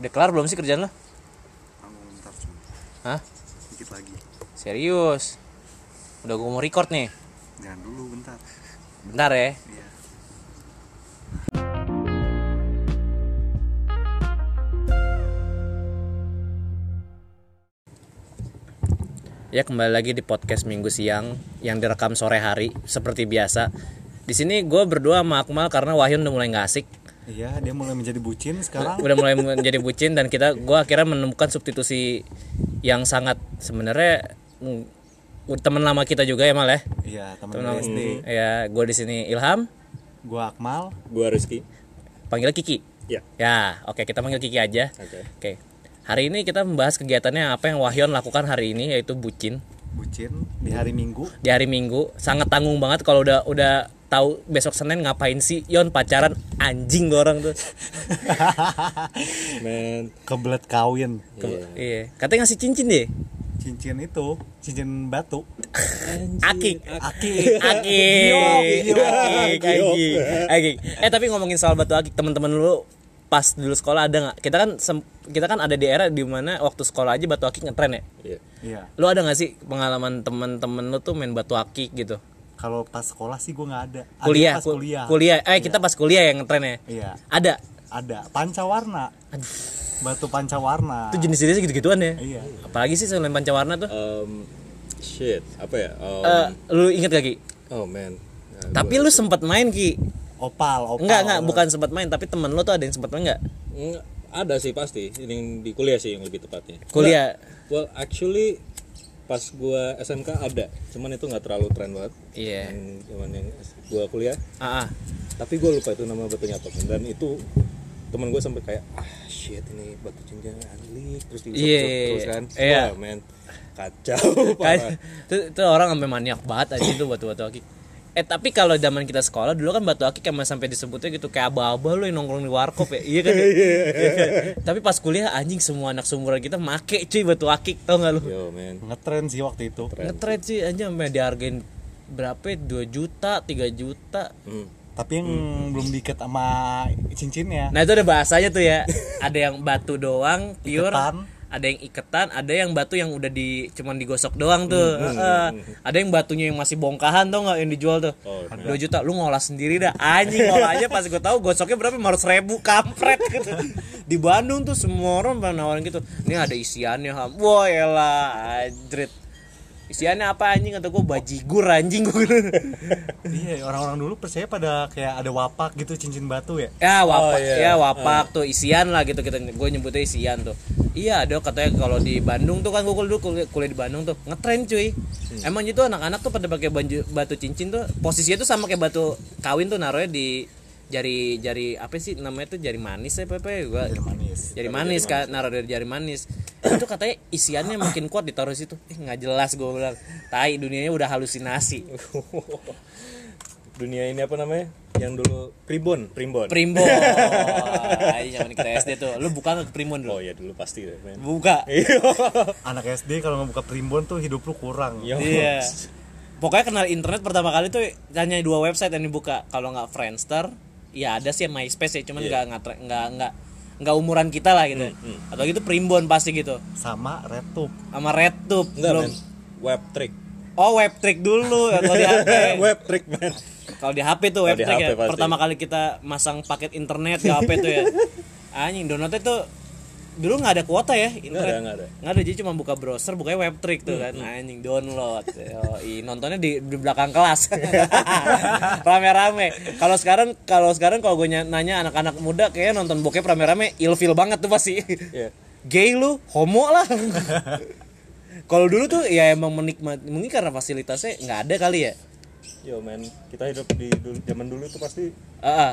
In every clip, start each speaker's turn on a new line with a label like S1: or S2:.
S1: Udah kelar belum sih kerjaan lo?
S2: Tanggung ntar cuma
S1: Hah?
S2: Dikit lagi
S1: Serius? Udah gue mau record nih.
S2: Jangan dulu bentar
S1: Bentar ya.
S2: Iya
S1: Ya kembali lagi di podcast Minggu Siang yang direkam sore hari seperti biasa. Di sini gue berdua sama Akmal karena Wahyu udah mulai nggak asik,
S2: Iya dia mulai menjadi bucin sekarang
S1: udah mulai menjadi bucin dan kita gue akhirnya menemukan substitusi yang sangat sebenarnya mm, teman lama kita juga ya Mal ya.
S2: Iya teman dari SD
S1: Ya gue di sini Ilham,
S2: Gua Akmal
S3: Gua Rizky.
S1: panggil Kiki.
S3: Ya.
S1: Ya, oke kita panggil Kiki aja.
S3: Oke.
S1: Oke. Hari ini kita membahas kegiatannya apa yang Wahyon lakukan hari ini yaitu bucin
S2: Bucin di hari Minggu
S1: di hari Minggu. Sangat tanggung banget kalau udah udah tahu besok Senin ngapain sih Yon pacaran anjing gua orang tuh.
S3: Men.
S2: Kebelet kawin
S1: Iya. Katanya ngasih cincin deh.
S2: Cincin itu Cincin batu
S1: Akik.
S2: Aki
S1: Akik.
S2: Giok, giok,
S1: Akik. Akik. Akik. Eh tapi ngomongin soal batu akik teman-teman lu pas dulu sekolah ada nggak? Kita kan sem- kita kan ada di era di mana waktu sekolah aja batu akik ngetren ya.
S3: Iya.
S2: Iya
S1: Lu ada nggak sih pengalaman temen-temen lu tuh main batu akik gitu?
S2: Kalau pas sekolah sih gua nggak ada Ada
S1: kuliah,
S2: pas
S1: ku-
S2: kuliah
S1: Eh kita pas kuliah yang ngetren ya.
S2: Iya
S1: Ada.
S2: Ada Pancawarna
S1: Aduh.
S2: Batu pancawarna
S1: Itu jenis-jenisnya gitu-gituan ya.
S2: Ah. Iya
S1: Apalagi sih selain pancawarna tuh.
S3: Um, shit. Apa ya?
S2: Oh.
S3: Um,
S1: Eh, lu inget gak Ki?
S3: oh man. Nah,
S1: Eh, Tapi lu sempat main Ki.
S2: Opal Opal
S1: Enggak, enggak, bukan sempat main, tapi temen lu tuh ada yang sempat main enggak?
S3: gua- nggak- ada sih pasti. Ini yang di kuliah sih yang lebih tepatnya.
S1: Kuliah.
S3: Nggak, Well, actually pas gua SMK ada. Cuman itu nggak terlalu tren banget.
S1: Iya.
S3: Yang zaman yang gua kuliah.
S1: Ah, ah.
S3: Tapi gua lupa itu nama batunya apa. Dan itu teman gue sampai kayak ah shit ini batu cincin anjing terus di
S1: Iya,
S3: terus kan
S1: iya.
S3: Wah, man kacau parah.
S1: Kayak- Itu, itu orang sampai maniak banget aja itu batu-batu akik. Eh tapi kalau zaman kita sekolah dulu kan batu akik emang sampai disebutnya gitu kayak aba-aba lu yang nongkrong di warkop ya. Iya kan? ya? Iya kan? tapi pas kuliah anjing semua anak seumuran kita make cuy batu akik tau gak lu?
S3: yo man
S2: Ngetren sih waktu itu
S1: Ngetrade sih aja sampai dihargain berapa ya? 2 juta, 3 juta.
S3: Hmm.
S2: Tapi yang belum diikat sama ya. cincinnya
S1: Hmm. Nah, itu ada bahasanya tuh ya. ada yang batu doang pure,
S2: Iketan.
S1: ada yang iketan, ada yang batu yang udah di cuman digosok doang tuh. Heeh. ada yang batunya yang masih bongkahan tau nggak yang dijual tuh.
S3: Oh,
S1: 2 juta lu ngolah sendiri dah. Anjing ngolahnya pas gue tahu gosoknya berapa 500 ribu kampret gitu. Di Bandung tuh semua orang pernah nawarin gitu. Ini ada isiannya ham. Wah, elah ajrit. Isiannya apa anjing atau gue bajigur anjing gue.
S2: Iya, orang-orang dulu percaya pada kayak ada wapak gitu cincin batu ya.
S1: ya wapak
S3: Oh, iya.
S1: ya wapak tuh isian lah gitu kita gue nyebutnya isian tuh iya ada katanya kalau di Bandung tuh kan gue dulu kuliah, kuliah di Bandung tuh ngetren cuy emang itu anak-anak tuh pada pakai banju- batu cincin tuh posisinya tuh sama kayak batu kawin tuh naruhnya di jari jari apa sih namanya tuh jari manis ya pepe gua
S2: Cincin manis.
S1: jari manis kan naruh dari jari manis itu katanya isiannya makin kuat ditaruh situ eh nggak jelas gue bilang tai dunianya udah halusinasi
S3: dunia ini apa namanya yang dulu primbon primbon
S1: primbon aja zaman kita SD tuh lu buka nggak ke primbon dulu
S3: oh ya dulu pasti deh men
S1: buka
S2: Anak SD kalau ngebuka primbon tuh hidup lu kurang.
S3: Yo.
S1: Iya. Pokoknya kenal internet pertama kali tuh hanya dua website yang dibuka. Kalau nggak Friendster, ya ada sih MySpace ya,
S3: Iya.
S1: cuman nggak nggak nggak nggak nggak umuran kita lah gitu.
S3: Hmm,
S1: Atau gitu Primbon pasti gitu.
S2: Sama RedTube.
S1: Sama RedTube
S3: enggak
S1: belum.
S3: men web trick
S1: Oh, web trick dulu atau di HP.
S3: web trick men
S1: Kalau di HP tuh web
S3: Kalau di
S1: trick
S3: HP
S1: ya.
S3: pasti.
S1: Pertama kali kita masang paket internet di HP tuh ya. Anjing downloadnya tuh dulu nggak ada kuota ya internet.
S3: enggak ada enggak ada Hmm,
S1: nggak ada jadi cuma buka browser bukanya web trick tuh kan anjing download Yoi, nontonnya di, di belakang kelas rame-rame kalau sekarang kalau sekarang kalau gue nanya anak-anak muda kayaknya nonton bokep rame-rame ilfil banget tuh pasti
S3: Iya.
S1: gay lu homo lah kalau dulu tuh ya emang menikmati mungkin karena fasilitasnya nggak ada kali ya
S3: yo men kita hidup di dulu- zaman dulu itu pasti
S1: Ah, ah,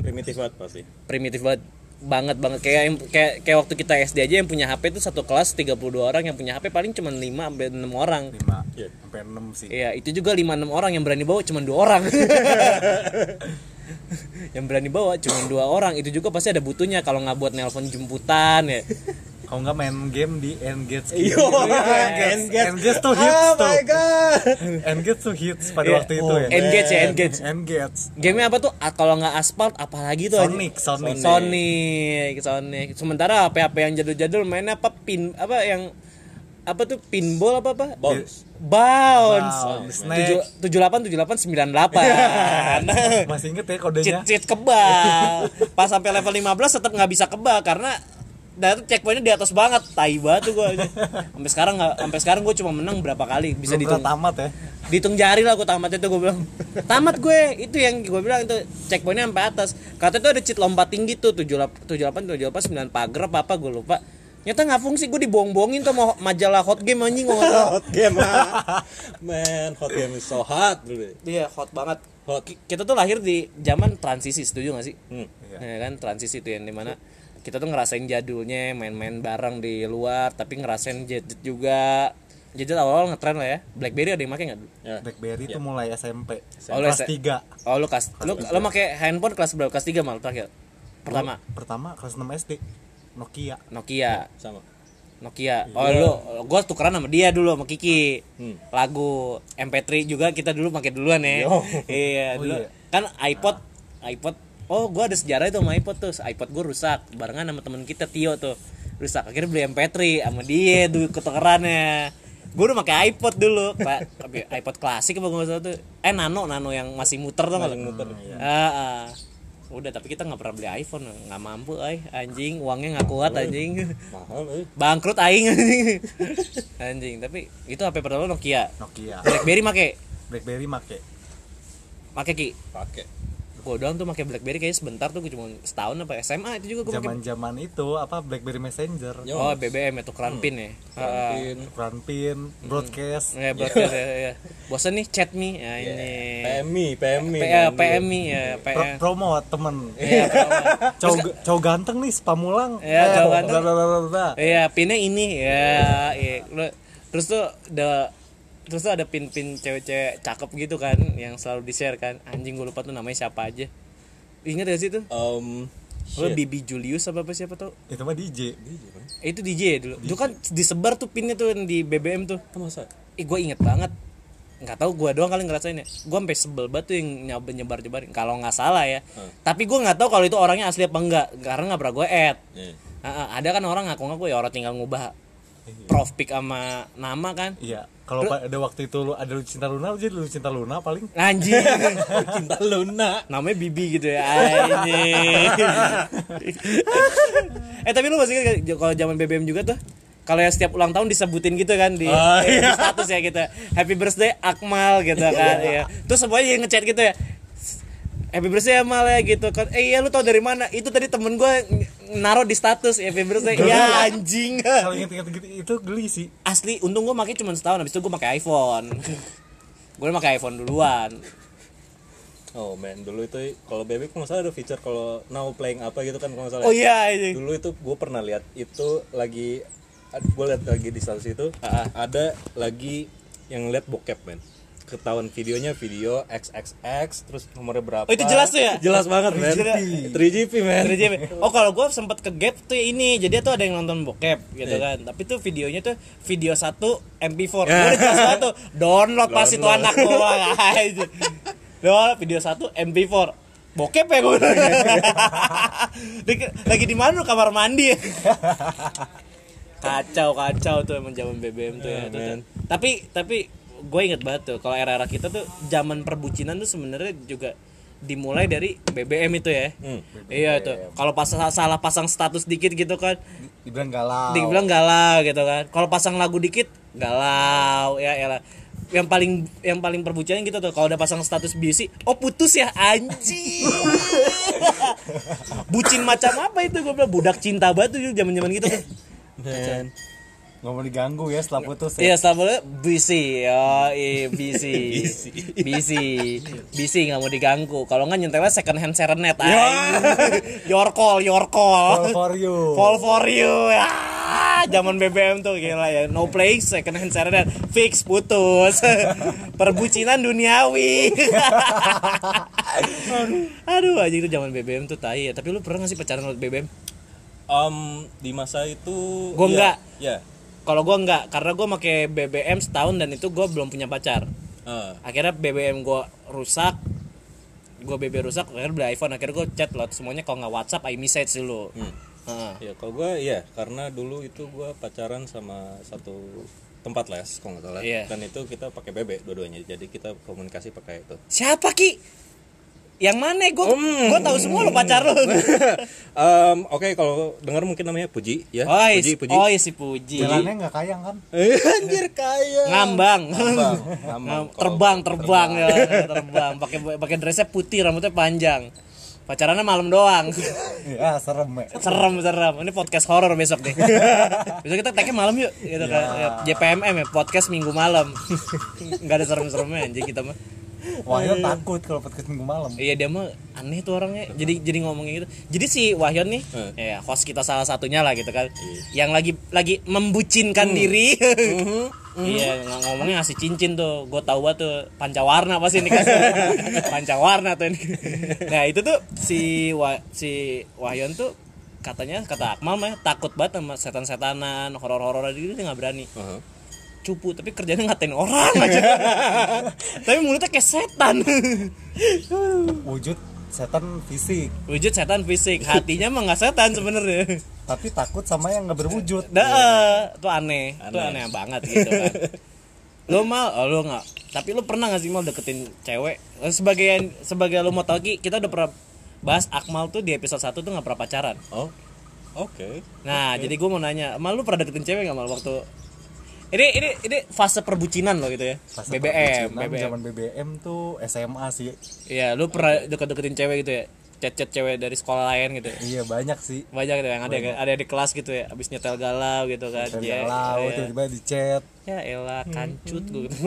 S3: primitif banget pasti
S1: primitif banget banget banget kayak yang- kayak kayak waktu kita SD aja yang punya HP tuh satu kelas 32 orang yang punya HP paling cuma 5 sampai 6 orang
S2: 5
S3: Iya.
S2: sampai 6 sih.
S1: Iya, itu juga 5 6 orang yang berani bawa cuma dua orang. yang berani bawa cuma dua orang, itu juga pasti ada butuhnya kalau nggak buat nelpon jemputan ya.
S2: Kalau nggak main game di Engage gitu.
S3: Yo,
S2: Engage. Engage tuh hits
S3: Oh
S2: tuh.
S3: my god.
S2: Engage tuh hits pada
S1: Iya.
S2: waktu itu ya.
S1: Engage ya, Engage.
S2: Engage.
S1: Gamenya apa tuh? Ah, Kalau nggak aspal, apalagi tuh?
S2: Sonic,
S1: anjing?
S2: Sonic.
S1: Sonic, Sonic. Sementara HP-HP yang jadul-jadul mainnya apa pin apa yang apa tuh pinball apa apa?
S3: Bounce.
S2: Bounce,
S1: Bounce.
S2: snake.
S1: Tujuh delapan tujuh delapan sembilan delapan.
S2: Masih inget ya
S1: Cheat
S2: kodenya?
S1: cheat kebal. Pas sampai level 15 tetap nggak bisa kebal karena dan checkpointnya di atas banget, tai banget tuh gua. Sampai sekarang nggak, sampai sekarang gue cuma menang berapa kali bisa
S2: Belum pernah
S1: dihitung
S2: tamat ya.
S1: dihitung jari lah gue tamat itu gue bilang tamat gue itu yang gue bilang itu checkpointnya sampai atas kata itu ada cheat lompat tinggi tuh 78 78 98 9 pagar apa apa gue lupa nyata nggak fungsi gue dibohong-bohongin tuh mau majalah hot game anjing gue nggak tahu.
S3: hot game ah. man hot game is so hot bro
S1: iya hot banget
S3: hot
S1: Ki- kita tuh lahir di zaman transisi setuju gak sih
S3: hmm.
S1: ya kan transisi itu yang dimana kita tuh ngerasain jadulnya main-main bareng di luar tapi ngerasain gadget juga gadget awal-awal ngetren lah ya blackberry ada yang make nggak dulu
S3: ya.
S2: Blackberry tuh mulai SMP.
S1: Oh, S-
S2: Kelas 3.
S1: Oh lu kelas lu lu make handphone kelas berapa? Kelas 3 malah terakhir. Pertama
S2: Pertama kelas 6 SD. Nokia.
S1: Nokia.
S3: sama
S1: Nokia. Oh lu gua tukeran sama dia dulu sama Kiki.
S3: Hmm.
S1: Lagu MP3 juga kita dulu pakai duluan ya.
S3: Yo.
S1: Iya,
S2: Oh,
S1: dulu.
S2: iya.
S1: Kan iPod iPod Oh, gua ada sejarah itu sama iPod tuh. iPod gua rusak barengan sama teman kita Tio tuh. Rusak. Akhirnya beli MP3 sama dia dulu ketukerannya. Gue udah pakai iPod dulu, Pak. Tapi iPod klasik apa gua nggak salah tuh. Eh Nano, Nano yang masih muter tuh
S3: yang muter
S1: Ah, ah. udah tapi kita nggak pernah beli iPhone nggak mampu ay anjing uangnya nggak kuat anjing
S3: mahal eh.
S1: bangkrut aing anjing anjing tapi itu HP pertama Nokia
S2: Nokia.
S1: BlackBerry make
S2: Blackberry make.
S1: make ki
S3: pakai
S1: gua doang tuh make BlackBerry kayaknya sebentar tuh gua cuma setahun apa SMA itu juga gua make
S2: Zaman-zaman itu apa Blackberry Messenger.
S3: Yo.
S1: oh BBM itu keran pin ya Ah, ah.
S3: pin
S2: Run pin, broadcast.
S1: Ya, broadcast, ya, ya. bosan nih chat me ya,
S3: Iya,
S1: ini
S3: PMI PMI
S1: P- eh,
S3: man,
S1: PM me ya
S2: Pro-
S1: PM
S2: promo temen.
S1: Iya, promo.
S2: Cowok cowok ganteng nih Spamulang.
S1: Iya,
S2: Eh,
S1: cowok ganteng.
S2: bla, bla, bla, bla, bla.
S1: Iya, pinnya ini ya. iya. Lu- Terus tuh ada terus tuh ada pin-pin cewek-cewek cakep gitu kan yang selalu di-share kan. Anjing gue lupa tuh namanya siapa aja. Ingat gak sih tuh?
S3: um
S1: Lu
S3: shit.
S1: Bibi Julius apa apa siapa tuh?
S2: Itu mah DJ.
S1: Eh, itu DJ ya dulu. Dulu kan disebar tuh pinnya tuh yang di BBM tuh.
S3: Ah, masa
S1: Ih, gue inget banget. Nggak tahu gue doang kali ngerasain ya. Gue sampai sebel banget tuh yang nyabar nyebar nyebarin kalau nggak salah ya. Tapi gue nggak tahu kalau itu orangnya asli apa enggak karena nggak pernah gue add.
S3: Eh,
S1: Ah, ah, ada kan orang ngaku-ngaku ya orang tinggal ngubah prof pick sama nama kan
S2: Iya. Kalau pada waktu itu lu ada lu cinta Luna, lu jadi lu cinta Luna paling.
S1: anjing
S3: cinta Luna
S1: namanya Bibi gitu ya anjing eh tapi lu masih ingat nggak, kalau zaman BBM juga tuh kalau yang setiap ulang tahun disebutin gitu kan di,
S3: Ah,
S1: eh, di
S3: iya.
S1: status ya gitu happy birthday Akmal gitu kan ya terus semuanya yang ngechat gitu ya Happy birthday Akmal ya gitu kan Eh iya lu tau dari mana Itu tadi temen gue Naruh di status Happy birthday Ya anjing
S2: Kalau inget-inget gitu itu geli sih.
S1: asli untung gue pakai cuma setahun habis itu gue pakai iPhone gue pakai iPhone duluan
S3: oh man dulu itu kalau bebek nggak salah ada fitur kalau now playing apa gitu kan kalau nggak salah
S1: oh iya ini
S3: dulu itu gue pernah lihat itu lagi gue lihat lagi di status itu
S1: Ah, ah.
S3: ada lagi yang lihat bokep men ketahuan videonya video XXX terus nomornya berapa
S1: Oh, itu jelas tuh ya?
S3: jelas banget men 3GP 3GP men
S1: Dari JB. oh kalau gue sempet ke gap tuh ya ini jadi tuh ada yang nonton bokep gitu kan tapi tuh videonya tuh video satu MP4 gue udah jelas banget tuh download pasti tuh anak gue download video satu MP4 bokep ya gue lagi di mana lu? kamar mandi ya? kacau kacau tuh emang zaman BBM tuh ya
S3: Yeah,
S1: Itu tuh.
S3: man.
S1: tapi tapi gue inget banget tuh kalau era-era kita tuh zaman perbucinan tuh sebenarnya juga dimulai dari BBM itu ya
S3: Hmm,
S1: iya tuh kalau pas salah pasang status dikit gitu kan
S2: Dibilang galau.
S1: dibilang galau gitu kan kalau pasang lagu dikit galau ya elah yang paling yang paling perbucinan gitu tuh kalau udah pasang status busy oh putus ya anjing bucin macam apa itu gue bilang budak cinta banget tuh zaman zaman gitu tuh
S3: men
S2: Nggak mau diganggu ya setelah putus ya.
S1: Iya, setelah boleh busy, ya, busy, busy, busy nggak mau diganggu. Kalau nggak nyentelnya second hand serenet, anjing. your call, your call,
S2: Fall for you.
S1: Fall for you. Ah, zaman BBM tuh gila ya, no playing second hand serenet, fix putus, perbucinan duniawi. Aduh, anjing itu zaman BBM tuh tai ya. Tapi lu pernah nggak sih pacaran lewat BBM?
S3: Em, Um, di masa itu
S1: Gua
S3: iya,
S1: enggak.
S3: ya
S1: Kalau gua enggak, karena gua pakai BBM setahun dan itu gua belum punya pacar.
S3: eh,
S1: Akhirnya BBM gua rusak. Gua BB rusak, akhirnya beli iPhone, akhirnya gua chat lot semuanya kalau nggak WhatsApp, iMessage dulu.
S3: hmm.
S1: Heeh.
S3: ya kalau gue ya karena dulu itu gue pacaran sama satu tempat les kalau nggak salah
S1: Iya.
S3: dan itu kita pakai bebek dua-duanya jadi kita komunikasi pakai itu
S1: Siapa Ki? Yang mana? Gue
S3: Hmm.
S1: gua tahu semua lo pacar lo.
S3: Em, oke kalau dengar mungkin namanya Puji ya
S1: Oh, si
S3: Puji Puji
S1: Oh, si Puji.
S2: Jalannya nggak kayang kan?
S3: Eh, anjir kaya
S1: Ngambang.
S3: Ngambang, ngambang.
S1: Ngam- terbang, terbang, ya, terbang. Pakai pakai dressnya putih, rambutnya panjang. Pacarannya malam doang.
S2: Ya serem ya.
S1: serem serem ini podcast horor besok nih besok kita tag malam yuk gitu kan. JPMM ya podcast minggu malam nggak ada serem-seremnya anjing kita mah
S2: Wahyu takut kalau podcast minggu malam.
S1: iya dia mah aneh tuh orangnya jadi jadi ngomongnya gitu jadi si Wahyon nih
S3: Hmm.
S1: ya host kita salah satunya lah gitu kan yang lagi lagi membucinkan diri Iya ng- ngomongnya ngasih cincin tuh, gue tahu banget tuh pancawarna pasti ini kasih pancawarna tuh ini. Nah itu tuh si Wa- si Wahyon tuh katanya kata Akmal mah takut banget sama setan-setanan horor-hororan gitu dia nggak berani
S3: Heeh.
S1: cupu tapi kerjanya ngatain orang aja tapi mulutnya kayak setan
S2: Wujud setan fisik,
S1: wujud setan fisik hatinya mah nggak setan sebenarnya
S2: tapi takut sama yang nggak berwujud.
S1: Nah, Dah, tuh aneh, tuh
S3: Aneh.
S1: aneh banget gitu kan. lo mal, oh, lo nggak. Tapi lo pernah nggak sih mal deketin cewek? Eh, Sebagai sebagai lo mau tau Ki, kita udah pernah bahas Akmal tuh di episode 1 tuh nggak pernah pacaran.
S3: oh oke
S1: Nah, jadi gue mau nanya, mal lo pernah deketin cewek nggak mal waktu? Ini ini ini fase perbucinan lo gitu ya.
S2: Pas
S1: BBM,
S2: perbucinan,
S1: BBM.
S2: Zaman BBM tuh SMA sih.
S1: Iya, lo pernah deket-deketin cewek gitu ya? Chat-chat cewek dari sekolah lain gitu. Ya?
S2: Iya banyak sih.
S1: Banyak gitu yang ada ada di kelas gitu ya, abis nyetel galau gitu kan.
S2: Dan
S1: Iya,
S2: galau
S1: iya.
S2: tiba-tiba di chat.
S1: ya elah kancut gue gitu.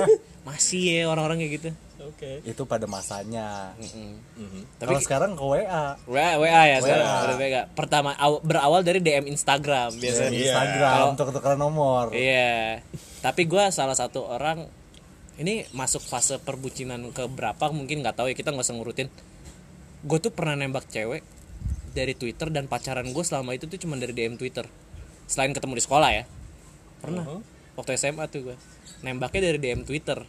S1: masih ya orang-orang kayak gitu
S3: oke
S2: Itu pada masanya.
S1: Hmm,
S3: Mhm.
S2: Tapi kalau sekarang ke WA,
S1: WA, WA ya sekarang udah WA. pertama aw- berawal dari DM Instagram biasanya
S3: Iya.
S2: di Instagram untuk tukeran nomor.
S1: iya tapi gua salah satu orang ini masuk fase perbucinan ke berapa mungkin nggak tahu ya kita nggak usah ngurutin gue tuh pernah nembak cewek dari Twitter dan pacaran gue selama itu tuh cuma dari DM Twitter selain ketemu di sekolah ya pernah waktu SMA tuh gue nembaknya dari DM Twitter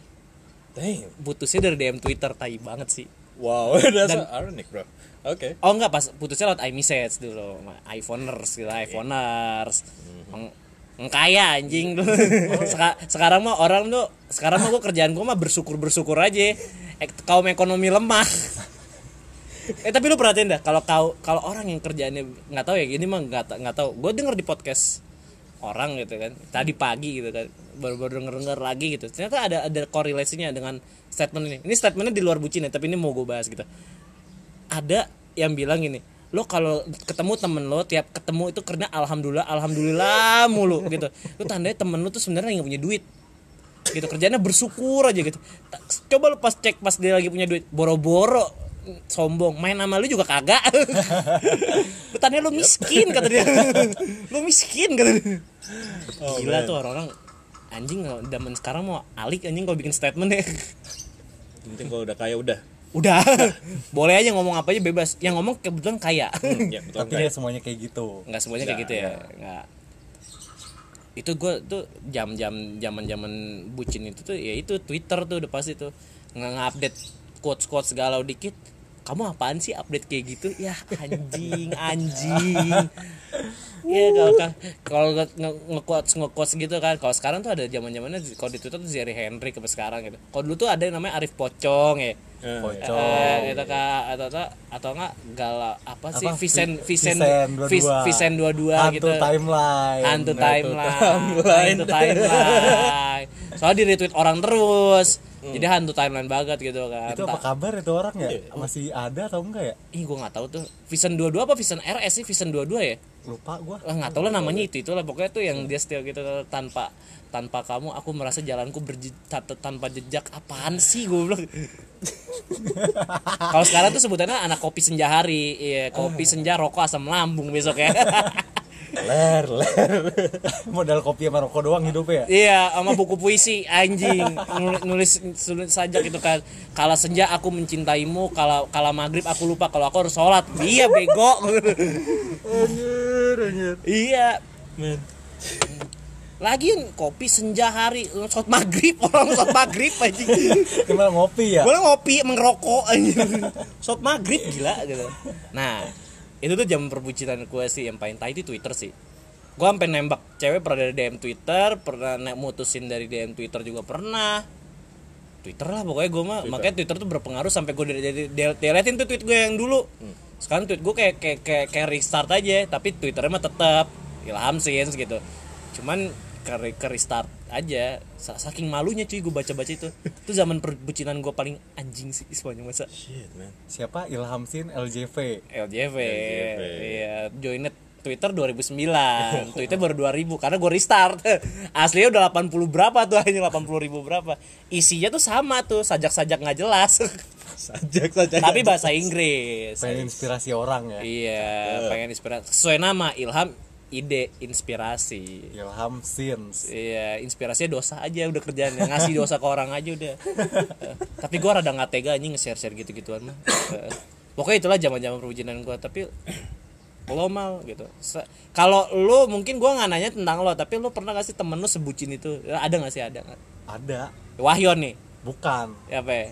S3: Damn.
S1: putusnya dari DM Twitter tai banget sih
S3: Wow, that's ironic, bro. Oke.
S1: Oh enggak pas putusnya lewat iMessage dulu, sama iPhoners gitu, iPhoners. Eng- Engkaya anjing dulu. Seka- sekarang mah orang tuh sekarang mah gua kerjaan gua mah bersyukur-bersyukur aja. Ek- kaum ekonomi lemah. eh tapi lu perhatiin dah kalau kau kalau orang yang kerjaannya nggak tahu ya gini mah nggak ta- nggak tahu. Gue denger di podcast orang gitu kan tadi pagi gitu kan baru-baru denger denger lagi gitu ternyata ada ada korelasinya dengan statement ini ini statementnya di luar bucin ya tapi ini mau gue bahas gitu ada yang bilang gini lo kalau ketemu temen lo tiap ketemu itu karena alhamdulillah alhamdulillah mulu gitu itu tandanya temen lo tuh sebenarnya nggak punya duit gitu kerjanya bersyukur aja gitu Ta- coba lo pas cek pas dia lagi punya duit boro-boro sombong main sama lu juga kagak lu tandanya lu miskin kata dia lu miskin kata dia gila tuh orang-orang anjing zaman sekarang mau alik anjing kalau bikin statement ya
S3: Penting kalau udah kaya udah.
S1: udah boleh aja ngomong apa aja bebas yang ngomong kebetulan kaya
S3: Ya, betul
S2: Tapi
S3: kaya.
S2: nggak semuanya kayak gitu.
S1: nggak semuanya kayak
S3: Nggak,
S1: gitu ya nggak itu gue tuh jam-jam zaman-zaman bucin itu tuh ya itu Twitter tuh udah pasti tuh nggak update quotes quotes galau dikit kamu apaan sih update kayak gitu ya anjing anjing ya kalau ka- kalau nge- nge- nge-quotes nge-quotes gitu kan kalau sekarang tuh ada zaman zamannya kalau di Twitter tuh Zeri Henry sampai sekarang gitu kalau dulu tuh ada yang namanya Arif Pocong ya
S3: Eh,
S2: Pocong.
S1: Eh, gitu kak atau atau atau enggak gala apa sih
S2: Apa?
S1: Visen Visen
S2: dua
S1: Vis- Visen dua dua gitu
S2: timeline.
S1: hantu timeline
S3: timeline.
S1: hantu timeline soalnya di retweet orang terus jadi hantu timeline banget gitu kan
S2: Hmm. Itu apa
S1: Entah-
S2: kabar itu orang ya?
S3: Iya.
S2: Masih ada atau enggak ya?
S1: ih gue nggak tahu tuh Visen dua dua apa Visen RS sih Visen dua dua ya
S2: Lupa gua.
S1: lah nggak tahu lah namanya itu itulah pokoknya tuh yang dia setia gitu tanpa tanpa kamu aku merasa jalanku berje, ta- ta- tanpa jejak apaan sih gue bilang kalau sekarang tuh sebutannya anak kopi senja hari iya kopi senja rokok asam lambung besok ya
S3: ler ler
S2: modal kopi sama rokok doang hidupnya ya
S1: Iya, sama buku puisi anjing Nul- nulis sulit sajak itu kan. Kala senja aku mencintaimu, kala kala maghrib aku lupa kalau aku harus sholat. Iya bego.
S2: anjir anjir
S1: iya.
S2: men
S1: Lagian kopi senja hari sholat maghrib orang sholat maghrib anjing.
S2: cuma ngopi ya
S1: Boleh ngopi, mengerokok anjing. Sholat Iya. maghrib gila gitu. Nah, itu tuh jam perbucinan gue sih yang paling tai itu Twitter sih. Gue sampai nembak cewek pernah dari DM Twitter, pernah naik mutusin dari DM Twitter juga pernah. Twitter lah pokoknya gue mah makanya Twitter tuh berpengaruh sampai gue dari dari- del- deletin tuh tweet gue yang dulu. Sekarang tweet gue kayak kayak kayak, kayak restart aja, tapi Twitternya mah tetap Ilham Sins gitu. Cuman ke, ke restart aja Sa- saking malunya cuy gue baca-baca itu itu zaman perbucinan gue paling anjing sih sepanjang masa
S3: shit man
S2: siapa Ilham Sin LJV
S1: LJV, iya joined Twitter 2009 Twitter baru 2000 karena gue restart aslinya udah 80 berapa tuh hanya 80 ribu berapa isinya tuh sama tuh sajak-sajak nggak jelas
S3: sajak sajak
S1: tapi bahasa Inggris
S2: pengen inspirasi orang ya
S1: iya pengen inspirasi sesuai nama Ilham ide inspirasi
S2: Ilham Sins
S1: Iya, inspirasinya dosa aja udah kerjaan ngasih dosa ke orang aja udah. Eh, tapi gua rada nggak tega anjing nge-share-share gitu-gituan mah. Eh, pokoknya itulah zaman-zaman perwujudan gua, tapi lo mal gitu. Se- Kalau lo mungkin gua nggak nanya tentang lo, tapi lo pernah gak sih temen lo sebucin itu? Eh, Ada nggak sih ada? nggak?
S2: ada
S1: Wahyon nih,
S2: bukan
S1: ya apa ya?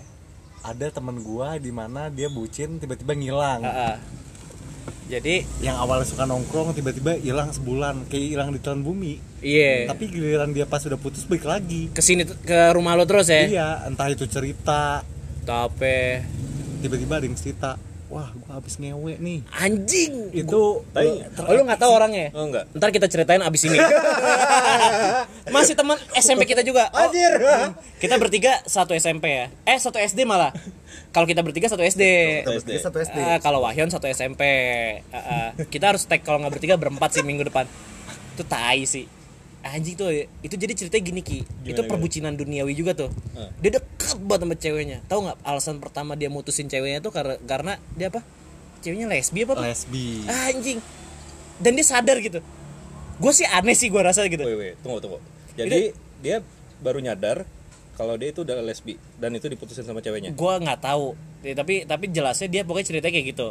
S2: ada temen gua di mana dia bucin tiba-tiba ngilang
S1: Heeh. Jadi,
S2: yang awalnya suka nongkrong tiba-tiba hilang sebulan kayak hilang di telan bumi
S1: iya.
S2: tapi giliran dia pas udah putus balik lagi
S1: Kesini t- ke rumah lo terus ya?
S2: iya entah itu cerita
S1: Tapi
S2: tiba-tiba ada yang cerita wah gua habis ngewe nih
S1: anjing.
S2: itu eh,
S3: tapi
S1: Oh, lo nggak tahu orangnya?
S3: oh enggak
S1: Ntar kita ceritain abis ini. Masih teman SMP kita juga. Oh,
S2: Anjir.
S1: kita bertiga satu SMP ya. Eh satu SD malah. Kalau kita bertiga satu SD.
S3: Satu SD.
S2: Dia satu SD
S1: Eh, kalau Wahyon satu SMP. Eh, eh, kita harus tag kalau nggak bertiga berempat sih minggu depan. Itu tai sih. Anjing tuh itu jadi ceritanya gini Ki. itu perbucinan duniawi juga tuh.
S3: Eh.
S1: Dia deket banget sama ceweknya. Tahu nggak alasan pertama dia mutusin ceweknya tuh karena karena dia apa? Ceweknya lesbi apa? apa?
S2: lesbi
S1: anjing dan dia sadar gitu gue sih aneh sih gue rasa gitu
S3: wait wait tunggu tunggu jadi dia baru nyadar kalau dia itu udah lesbi dan itu diputusin sama ceweknya
S1: gue nggak tahu Ya, tapi tapi jelasnya dia pokoknya ceritanya kayak gitu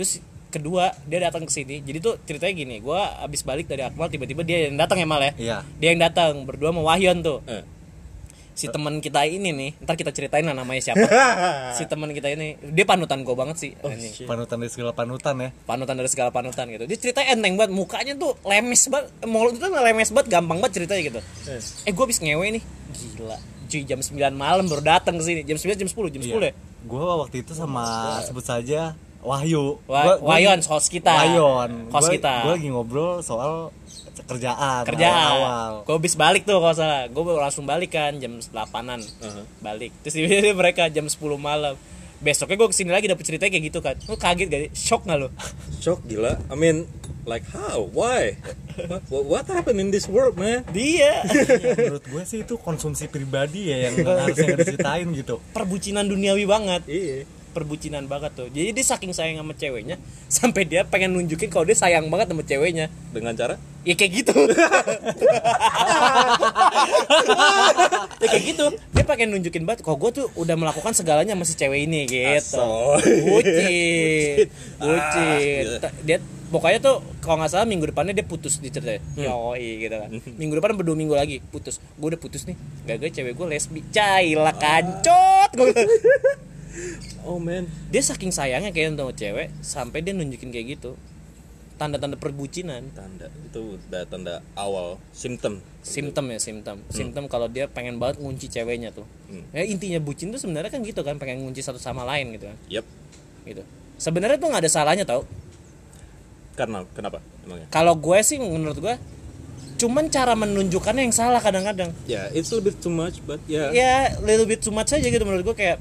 S1: terus kedua dia datang ke sini jadi tuh ceritanya gini gue abis balik dari Akmal tiba-tiba dia yang datang ya Mal ya
S2: Iya.
S1: dia yang datang berdua sama Wahyon tuh
S3: Eh,
S1: si teman kita ini nih ntar kita ceritain lah namanya siapa si teman kita ini dia panutan gue banget sih anjing.
S2: panutan dari segala panutan ya
S1: panutan dari segala panutan gitu. Dia ceritanya enteng banget, mukanya tuh lemes banget, mulut tuh lemes banget, gampang banget ceritanya gitu. Eh gue habis ngewe nih, gila. Cuy jam 9 malam baru datang ke sini. Jam 9 jam 10, jam
S2: Iya.
S1: 10 ya.
S2: gua waktu itu sama sebut saja Wahyu
S1: Wa-
S2: Gua- gua-
S1: Wayon, host kita.
S2: Wayon
S1: Host
S2: Gua-
S1: kita.
S2: gua lagi ngobrol soal kerjaan
S1: Kerjaan.
S2: awal
S1: Gue habis balik tuh kalau salah. Gue langsung balik kan jam 8-an. Balik. Terus tiba-tiba mereka jam 10 malam. Besoknya gue kesini lagi dapet ceritanya kayak gitu kan. Lu kaget gak? sih? Shock gak lu?
S3: shock gila I mean like how why what, what happened in this world man
S1: Dia
S2: Iya, menurut gue sih itu konsumsi pribadi
S1: Iya.
S2: ya yang harusnya diceritain gitu
S1: perbucinan duniawi banget.
S3: iya
S1: perbucinan banget tuh jadi dia saking sayang sama ceweknya sampai dia pengen nunjukin kalau dia sayang banget sama ceweknya
S3: dengan cara
S1: ya kayak gitu ya kayak gitu dia pengen nunjukin banget kok gue tuh udah melakukan segalanya sama si cewek ini gitu
S3: Asoy.
S1: bucin bucin
S3: Ah,
S1: Ta- dia pokoknya tuh kalau nggak salah minggu depannya dia putus di ceritanya yoi gitu kan minggu depan berdua minggu lagi putus gue udah putus nih gagal cewek gue lesbi caila kancot gue
S3: oh man
S1: dia saking sayangnya kayaknya sama cewek sampai dia nunjukin kayak gitu tanda-tanda perbucinan
S3: tanda itu udah tanda awal symptom
S1: simptom ya simptom simptom kalau dia pengen banget ngunci ceweknya tuh ya intinya bucin tuh sebenarnya kan gitu kan pengen ngunci satu sama lain gitu kan
S3: yep
S1: gitu sebenarnya tuh nggak ada salahnya tau
S3: karena kenapa emangnya
S1: kalau gue sih menurut gue cuman cara menunjukkannya yang salah kadang-kadang
S3: ya it's a little bit too much but yeah,
S1: ya little bit too much aja gitu menurut gue kayak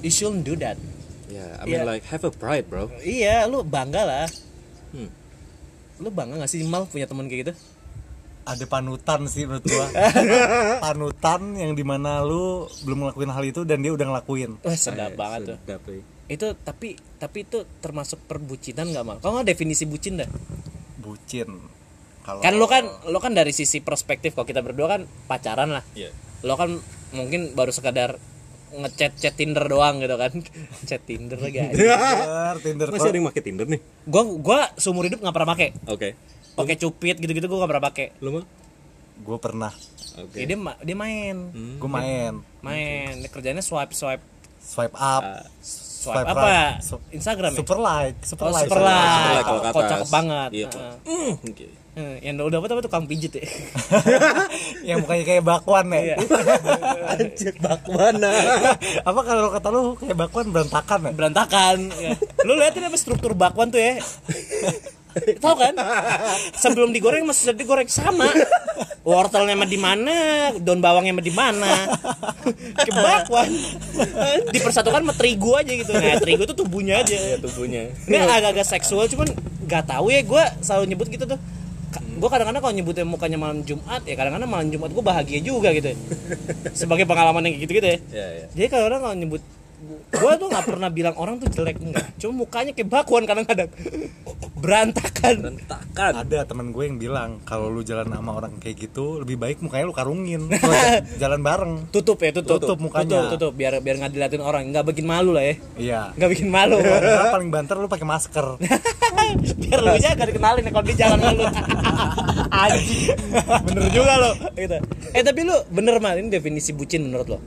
S1: you shouldn't do that
S3: yeah I mean
S1: Yeah.
S3: like have a pride bro
S1: iya lu bangga lah
S3: Hmm.
S1: lu bangga gak sih mal punya teman kayak gitu
S2: ada panutan sih menurut gua panutan yang dimana lu belum ngelakuin hal itu dan dia udah ngelakuin
S3: iya,
S1: Wah, sedap banget tuh.
S3: Sedap, eh.
S1: itu tapi tapi itu termasuk perbucinan nggak mal kalau nggak definisi bucin dah
S2: bucin kalau
S1: kan lo kan lo kan dari sisi perspektif kalau kita berdua kan pacaran lah
S3: Iya.
S1: lo kan mungkin baru sekadar ngechat chat Tinder doang gitu kan chat Tinder lagi
S2: Iya.
S1: aja. kan-
S2: Tinder, Tinder
S3: Masih ada yang pakai Tinder nih?
S1: gua gua seumur hidup nggak pernah pakai
S3: Oke.
S2: Iya.
S1: pakai cupid gitu-gitu gua nggak pernah pakai
S3: Lu mah?
S2: gue pernah
S3: Oke.
S1: Ya, dia ma- dia main
S2: gue main
S1: main dia kerjanya swipe swipe
S2: swipe up
S1: swipe,
S2: Swipe
S1: apa
S2: right. Su-
S1: Instagram Ah, ya?
S2: super like super
S1: Oh,
S2: like
S1: super like.
S3: Super like Iya, kalau ke
S1: Kocak
S3: atas.
S1: banget.
S3: Iya.
S1: Heeh.
S3: Mm, Oke.
S1: Eh, yang udah dapat apa tukang pijit ya
S2: yang mukanya kayak bakwan ya
S3: Anjir bakwana.
S2: apa kalau kata lu kayak bakwan berantakan ya
S1: berantakan ya. lu liatin apa struktur bakwan tuh ya tahu kan sebelum digoreng masih sudah digoreng sama wortelnya mah di mana daun bawangnya mah di mana Kayak bakwan dipersatukan sama terigu aja gitu nah terigu tuh tubuhnya aja
S3: Iya, Tubuhnya.
S1: ini agak-agak seksual cuman gak tahu ya gue selalu nyebut gitu tuh gue kadang-kadang kalau nyebutnya mukanya malam Jumat ya kadang-kadang malam Jumat gue bahagia juga gitu sebagai pengalaman yang gitu-gitu ya
S3: Iya, iya.
S1: jadi kalau orang kalau nyebut gue tuh nggak pernah bilang orang tuh jelek enggak cuma mukanya kayak bakwan kadang-kadang berantakan
S3: Rentakan.
S1: Ah,
S2: ada teman gue yang bilang kalau lu jalan sama orang kayak gitu lebih baik mukanya lu karungin Kalau jalan bareng
S1: tutup ya tutup
S2: Tutup mukanya.
S1: tutup, tutup. biar biar nggak diliatin orang nggak bikin malu lah ya
S2: iya
S1: nggak bikin malu
S2: Karena paling banter lu pakai masker
S1: biar lu aja gak dikenalin ya kalau dia jalan malu anjing bener juga lo gitu eh tapi lu bener mah ini definisi bucin menurut lo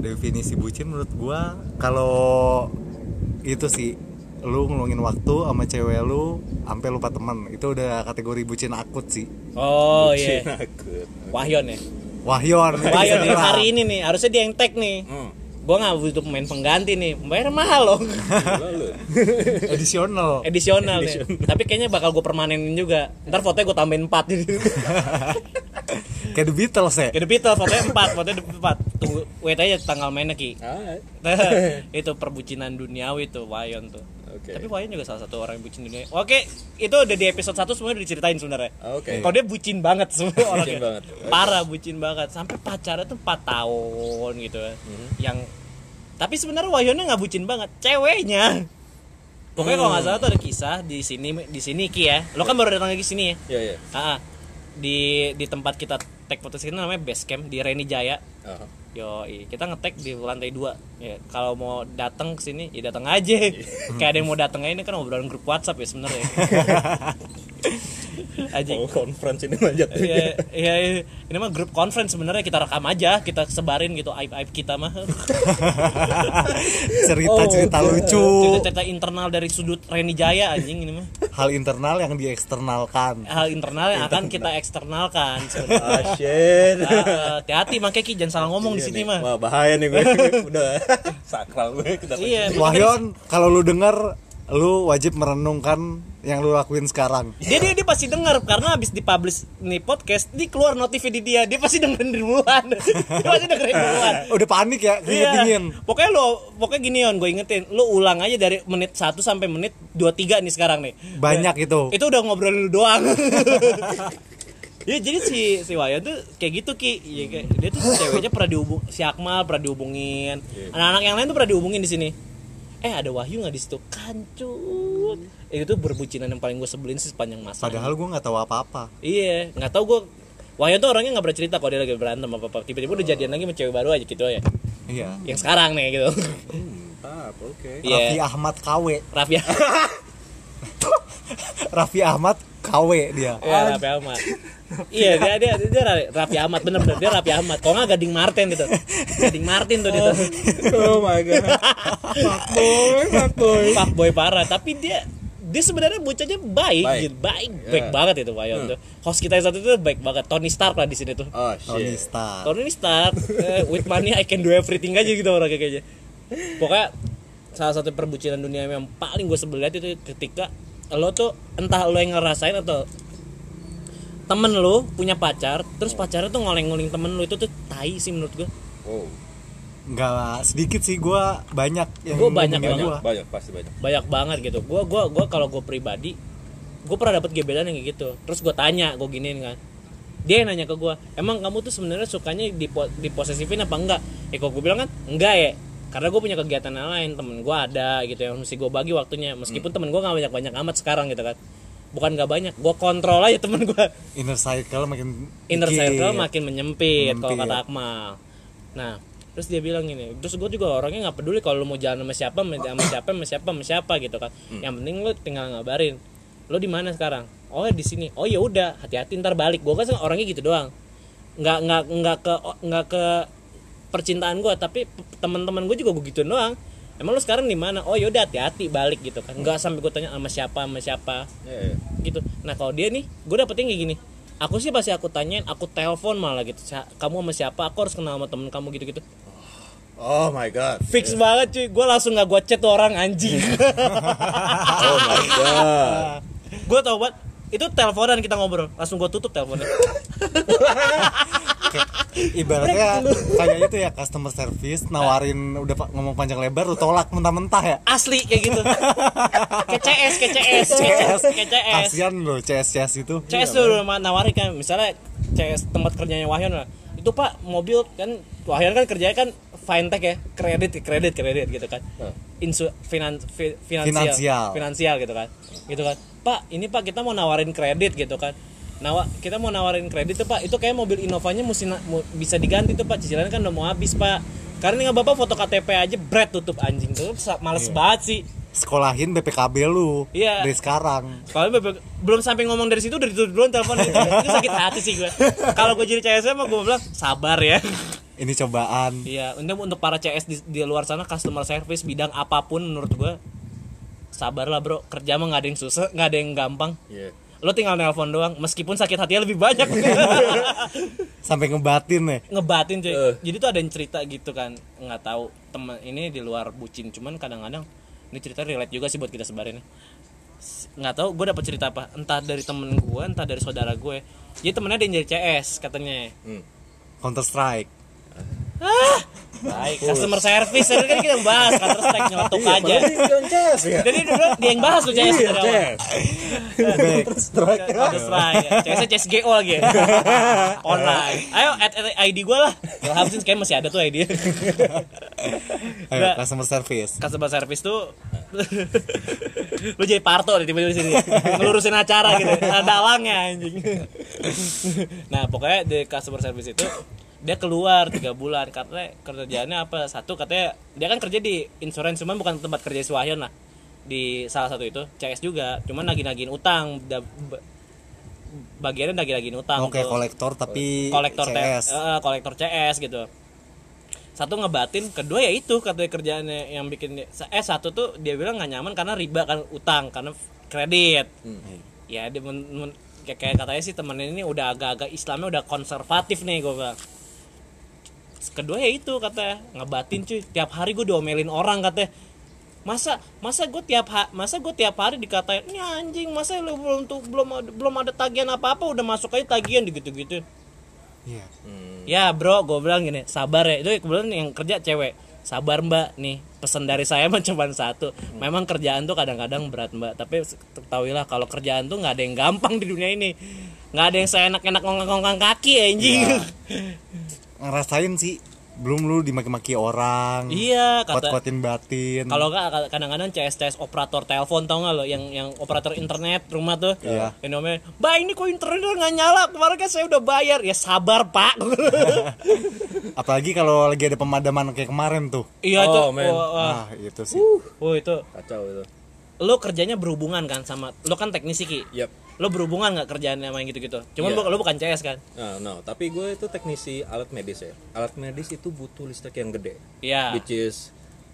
S2: definisi bucin menurut gua kalau itu sih lu ngeluangin waktu sama cewek lu sampai lupa teman itu udah kategori bucin akut sih
S1: oh iya
S3: Nakut.
S1: Wahyon ya
S2: wahyon itu
S1: Wahyon nih
S2: beneran.
S1: hari ini nih harusnya dia yang tag nih
S3: Hmm.
S1: gua nggak butuh pemain pengganti nih bayar mahal loh
S3: Gila lu.
S2: edisional
S1: edisional nih tapi kayaknya bakal gue permanenin juga ntar fotonya gue tambahin 4 jadi
S2: kayak The Beatles ya
S1: kayak The Beatles fotonya 4 fotonya 4 tunggu wait aja tanggal mainnya ki
S3: Alright.
S1: itu perbucinan duniawi tuh Wayon tuh
S3: Oke.
S1: tapi Wayon juga salah satu orang yang bucin dunia oke itu udah di episode 1 semuanya udah diceritain sebenarnya
S3: Oke.
S1: kalau dia bucin banget semua orangnya
S3: Iya. banget.
S1: parah bucin banget sampai pacarnya tuh 4 tahun gitu ya. yang tapi sebenarnya Wayonnya nggak bucin banget ceweknya pokoknya kalau nggak salah tuh ada kisah di sini di sini ki ya lo kan baru datang lagi sini ya
S3: Iya, iya.
S1: Ah, ah. di di tempat kita tag podcast ini namanya base camp di Reni Jaya
S3: Aha.
S1: Yo, kita ngetek di lantai dua. Ya, kalau mau datang ke sini, ya datang aja. Kayak ada yang mau datang aja ini kan obrolan grup WhatsApp ya sebenarnya. aja.
S3: Oh, conference ini mah
S1: Ya,
S3: jatuhnya.
S1: ya, ya. ini mah grup conference sebenarnya kita rekam aja, kita sebarin gitu aib aib kita mah.
S2: cerita cerita lucu
S1: Oh, Cerita-cerita internal dari sudut Reni Jaya anjing ini mah.
S2: hal internal yang dieksternalkan
S1: Hal internal yang akan kita eksternalkan sebenarnya.
S3: Ah, shit.
S1: Ah, eh, Hati-hati makanya Ki jangan salah ngomong di
S3: Iya
S1: sini
S3: nih.
S1: mah.
S3: Wah, bahaya nih gue. Udah sakral gue kita.
S1: Iya, makanya-
S2: wahyon kalau lu denger lu wajib merenungkan yang lu lakuin sekarang
S1: dia dia dia pasti dengar karena habis dipublish nih podcast di keluar notif di dia dia pasti dengerin duluan dia pasti dengerin duluan
S2: udah panik ya
S1: Iya.
S2: keringet dingin
S1: Pokoknya lo pokoknya gini on, gue ingetin, lo ulang aja dari menit 1 sampai menit 23 nih sekarang nih.
S2: banyak itu
S1: Itu udah ngobrol lu doang. Ya jadi si si Wayan tuh kayak gitu Ki. Ya, kayak- dia tuh ceweknya pernah dihubung si Akmal pernah dihubungin.
S2: Iya.
S1: Anak-anak yang lain tuh pernah dihubungin di sini. Eh ada Wahyu nggak di situ? Kancut. Eh, Itu berbucinan yang paling gue sebelin sih sepanjang masa.
S2: padahal gua nggak tahu apa-apa
S1: Iya, nggak tahu gue. Wahyu tuh orangnya nggak pernah cerita kalau dia lagi berantem apa apa. Tiba-tiba udah jadian lagi sama cewek baru aja gitu ya.
S2: iya
S1: Yang sekarang nih gitu.
S3: Mantap, Ah, oke.
S1: Iya.
S2: Raffi Ahmad KW
S1: Raffi ya,
S2: Raffi Ahmad KW dia
S1: Raffi Iya, Ahmad. Iya dia dia dia Raffi Ahmad bener bener dia Raffi Ahmad. Kalau nggak Gading Martin gitu. Gading Martin tuh dia tuh.
S3: Oh my god. Fuckboy, fuckboy.
S1: Pak boy parah. Tapi dia dia sebenarnya bocahnya baik,
S3: Baik.
S1: gitu. baik, baik banget itu Wahyu tuh. Host kita yang satu itu baik banget. Tony Stark lah di sini tuh.
S3: Oh
S2: Tony
S3: shit.
S2: Stark
S1: Tony Stark eh, with money I can do everything aja gitu orangnya kayaknya pokoknya salah satu perbucinan dunia yang paling gue sebel liat itu ketika lo tuh entah lo yang ngerasain atau temen lo punya pacar terus pacarnya tuh ngoleng-ngoleng temen lo itu tuh tai sih menurut gue
S3: Wow.
S2: nggak sedikit sih gua banyak yang
S1: Gua banyak
S2: ngomongin
S1: banget.
S2: gua.
S3: Banyak, pasti banyak.
S1: banyak banget gitu gue gua gua kalau gue pribadi gue pernah dapet gebetan yang kayak gitu terus gue tanya gue giniin kan dia yang nanya ke gue emang kamu tuh sebenarnya sukanya dipo diposesifin apa enggak eh kok gue bilang kan enggak ya karena gue punya kegiatan yang lain temen gue ada gitu yang mesti gue bagi waktunya meskipun temen gue nggak banyak banyak amat sekarang gitu kan bukan nggak banyak gue kontrol aja temen gue
S2: inner cycle makin
S1: inner
S2: dikit.
S1: circle makin menyempit kalau
S2: Menyempit.
S1: kata Akmal nah terus dia bilang gini terus gue juga orangnya nggak peduli kalau lu mau jalan sama siapa sama sama siapa sama siapa sama siapa gitu kan yang penting lu tinggal ngabarin lu di mana sekarang oh di sini oh ya udah hati-hati ntar balik gue kan orangnya gitu doang nggak nggak nggak ke nggak ke percintaan gue tapi p- teman-teman gue juga gue gituin doang emang lu sekarang di mana oh ya udah hati-hati balik gitu kan nggak sampai gue tanya sama siapa sama siapa
S3: Iya, iya.
S1: gitu nah kalau dia nih gue dapetnya kayak gini aku sih pasti aku tanyain aku telepon malah gitu "Sa- kamu sama siapa aku harus kenal sama temen kamu gitu gitu
S3: Oh my god.
S1: fix banget cuy gue langsung nggak gue chat tuh orang anjing
S3: Oh my
S1: Ah.
S3: god.
S1: gue tau banget itu teleponan kita ngobrol langsung gue tutup teleponnya
S2: ibaratnya kayak itu ya customer service nawarin udah pa- ngomong panjang lebar lu tolak mentah-mentah ya
S1: asli kayak gitu ke CS ke CS ke CS ke CS
S2: kasian lo CS CS itu
S1: CS dulu ma- nawarin kan misalnya CS tempat kerjanya Wahyon lah itu pak mobil kan Wahyon kan kerjanya kan fintech ya kredit kredit kredit gitu kan Insu, finan, fi- finansial,
S2: Finansial.
S1: finansial gitu kan gitu kan pak ini pak kita mau nawarin kredit gitu kan Nawa, kita mau nawarin kredit tuh pak itu kayak mobil Innovanya mesti na- mu- bisa diganti tuh pak cicilannya kan udah mau habis pak karena nggak bapak foto KTP aja bread tutup anjing tuh sa- males banget sih
S2: sekolahin BPKB lu
S1: Iya.
S2: dari sekarang
S1: Soalnya bebek- belum sampai ngomong dari situ dari dulu duluan telepon itu, itu sakit hati sih gue. Kalau gue jadi CS mah gue bilang sabar ya.
S2: ini cobaan
S1: Iya, untuk untuk para CS di, di luar sana customer service bidang apapun menurut gue sabarlah bro kerja mah nggak ada yang susah nggak ada yang gampang
S3: Iya.
S1: lo tinggal nelpon doang meskipun sakit hatinya lebih banyak
S2: sampai ngebatin ya
S1: ngebatin cuy
S3: Eh.
S1: jadi tuh ada yang cerita gitu kan nggak tahu temen ini di luar bucin cuman kadang-kadang ini cerita relate juga sih buat kita sebarin S- nggak tahu gue dapet cerita apa entah dari temen gue entah dari saudara gue jadi temennya ada yang jadi CS katanya
S3: Hmm.
S2: Counter Strike
S1: baik Iya, customer service tadi kan kita bahas counter strike nyelotok aja
S3: Conces ya.
S1: jadi dulu dia yang bahas tuh CS dari awal.
S2: Baik.
S1: Iya, Counter Strike. ya. CS CSGO lagi. ya. Online. Ayo add, add ID gue lah. Habisin kayak masih ada tuh ID.
S2: Ayo,
S1: Nggak.
S2: customer service
S1: customer service tuh lu jadi parto deh tiba-tiba di sini ngelurusin acara gitu ada alangnya anjing nah pokoknya di customer service itu dia keluar tiga bulan katanya kerjaannya apa satu katanya dia kan kerja di insurance cuman bukan tempat kerja si Wahyon lah di salah satu itu CS juga cuman nagih-nagihin utang Da- ba- bagiannya nagih-nagihin utang
S2: oke
S1: tuh
S2: kolektor tapi
S1: kolektor CS.
S2: CS
S1: kolektor CS gitu. Satu ngebatin, kedua ya itu katanya kerjaannya yang bikin dia- eh satu tuh dia bilang nggak nyaman karena riba kan utang karena f- kredit. Ya dia men- men- kayak, kayak katanya sih temen ini udah agak-agak Islamnya udah konservatif nih gue bilang. Kedua ya itu katanya ngebatin cuy tiap hari gue diomelin orang katanya masa masa gue tiap ha- masa gue tiap hari dikatain ini anjing masa lu belum tuh belum ada- belum ada tagihan apa apa udah masuk aja tagihan gitu gitu
S2: Iya.
S1: Ya bro, gue bilang gini, sabar ya. Itu kebetulan yang kerja cewek. Sabar mbak, nih pesan dari saya mah cuma satu. Memang kerjaan tuh kadang-kadang berat mbak, tapi ketahuilah kalau kerjaan tuh nggak ada yang gampang di dunia ini. Nggak ada yang seenak-enak ngongkang-ngongkang kaki ya, anjing.
S2: ngerasain sih belum lu dimaki-maki orang
S1: Iya, kata
S2: kuat-kuatin batin
S1: kalau nggak kadang-kadang CS CS operator telepon tau nggak lo yang yang operator internet rumah tuh
S2: Iya.
S1: yang namanya mbak ini kok internet nggak nyala kemarin kan saya udah bayar ya sabar pak
S2: apalagi kalau lagi ada pemadaman kayak kemarin tuh
S1: iya
S3: Oh,
S1: itu
S3: man.
S1: wah, wah.
S2: ah itu sih
S1: Wah, itu
S3: Kacau itu.
S1: lo kerjanya berhubungan kan sama lo kan teknisi ki
S3: Yap.
S1: lo berhubungan nggak kerjaan sama yang gitu-gitu cuman
S3: Iya.
S1: bu- lo bukan CS kan
S3: Nah, no, tapi gue itu teknisi alat medis ya. Alat medis itu butuh listrik yang gede.
S1: Iya.
S3: Which is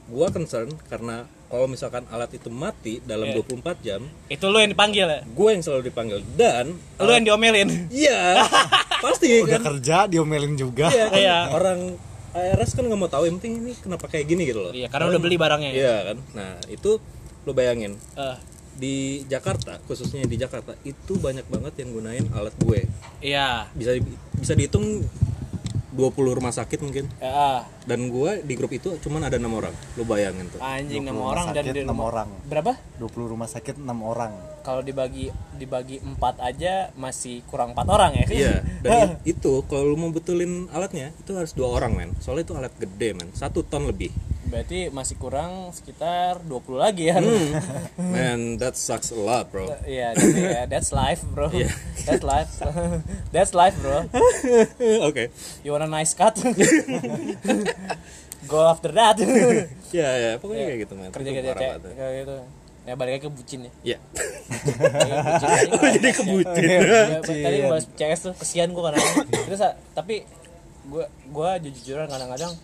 S3: gue concern karena kalau misalkan alat itu mati
S1: Iya.
S3: dalam 24 jam,
S1: itu lo yang dipanggil ya
S3: gue yang selalu dipanggil dan
S1: lo yang diomelin
S3: Iya, pasti
S2: udah
S3: kan.
S2: kerja diomelin juga
S3: Iya,
S1: Oh,
S3: kan?
S1: Iya.
S3: orang ARS kan nggak mau tahu yang penting ini kenapa kayak gini gitu loh.
S1: iya karena udah beli barangnya
S3: Iya kan. Nah itu lo bayangin
S1: Eh,
S3: di Jakarta khususnya di Jakarta itu banyak banget yang gunain alat gue
S1: iya
S3: bisa di- bisa dihitung 20 rumah sakit mungkin
S1: Eh, ah.
S3: dan gue di grup itu cuman ada enam orang lo bayangin tuh
S1: anjing
S2: 20
S1: enam
S2: rumah
S1: orang dan
S2: sakit,
S1: di
S2: enam
S1: rumah-
S2: orang.
S1: berapa
S2: 20 rumah sakit 6 orang
S1: kalau dibagi dibagi empat aja masih kurang empat orang ya
S3: iya dan i- itu kalau lo mau betulin alatnya itu harus dua orang men soalnya itu alat gede men satu ton lebih
S1: berarti masih kurang sekitar 20 lagi ya
S3: Man, that sucks a lot, bro.
S1: Iya, gitu ya. that's life, bro. That's life. that's life, bro.
S3: okay.
S1: You want a nice cut? Go after that.
S3: Ya, ya, pokoknya kayak gitu, man.
S1: Kerja
S3: Itu
S1: kerja
S3: parah
S1: kayak
S3: banget.
S1: kayak gitu. Ya balik lagi ke bucin ya.
S3: Ya.
S1: Jadi
S3: Jadi kebucin.
S1: Ya, tadi bahas CS tuh kesian gue kadang terus ah, tapi gue gue jujur-jujuran kadang-kadang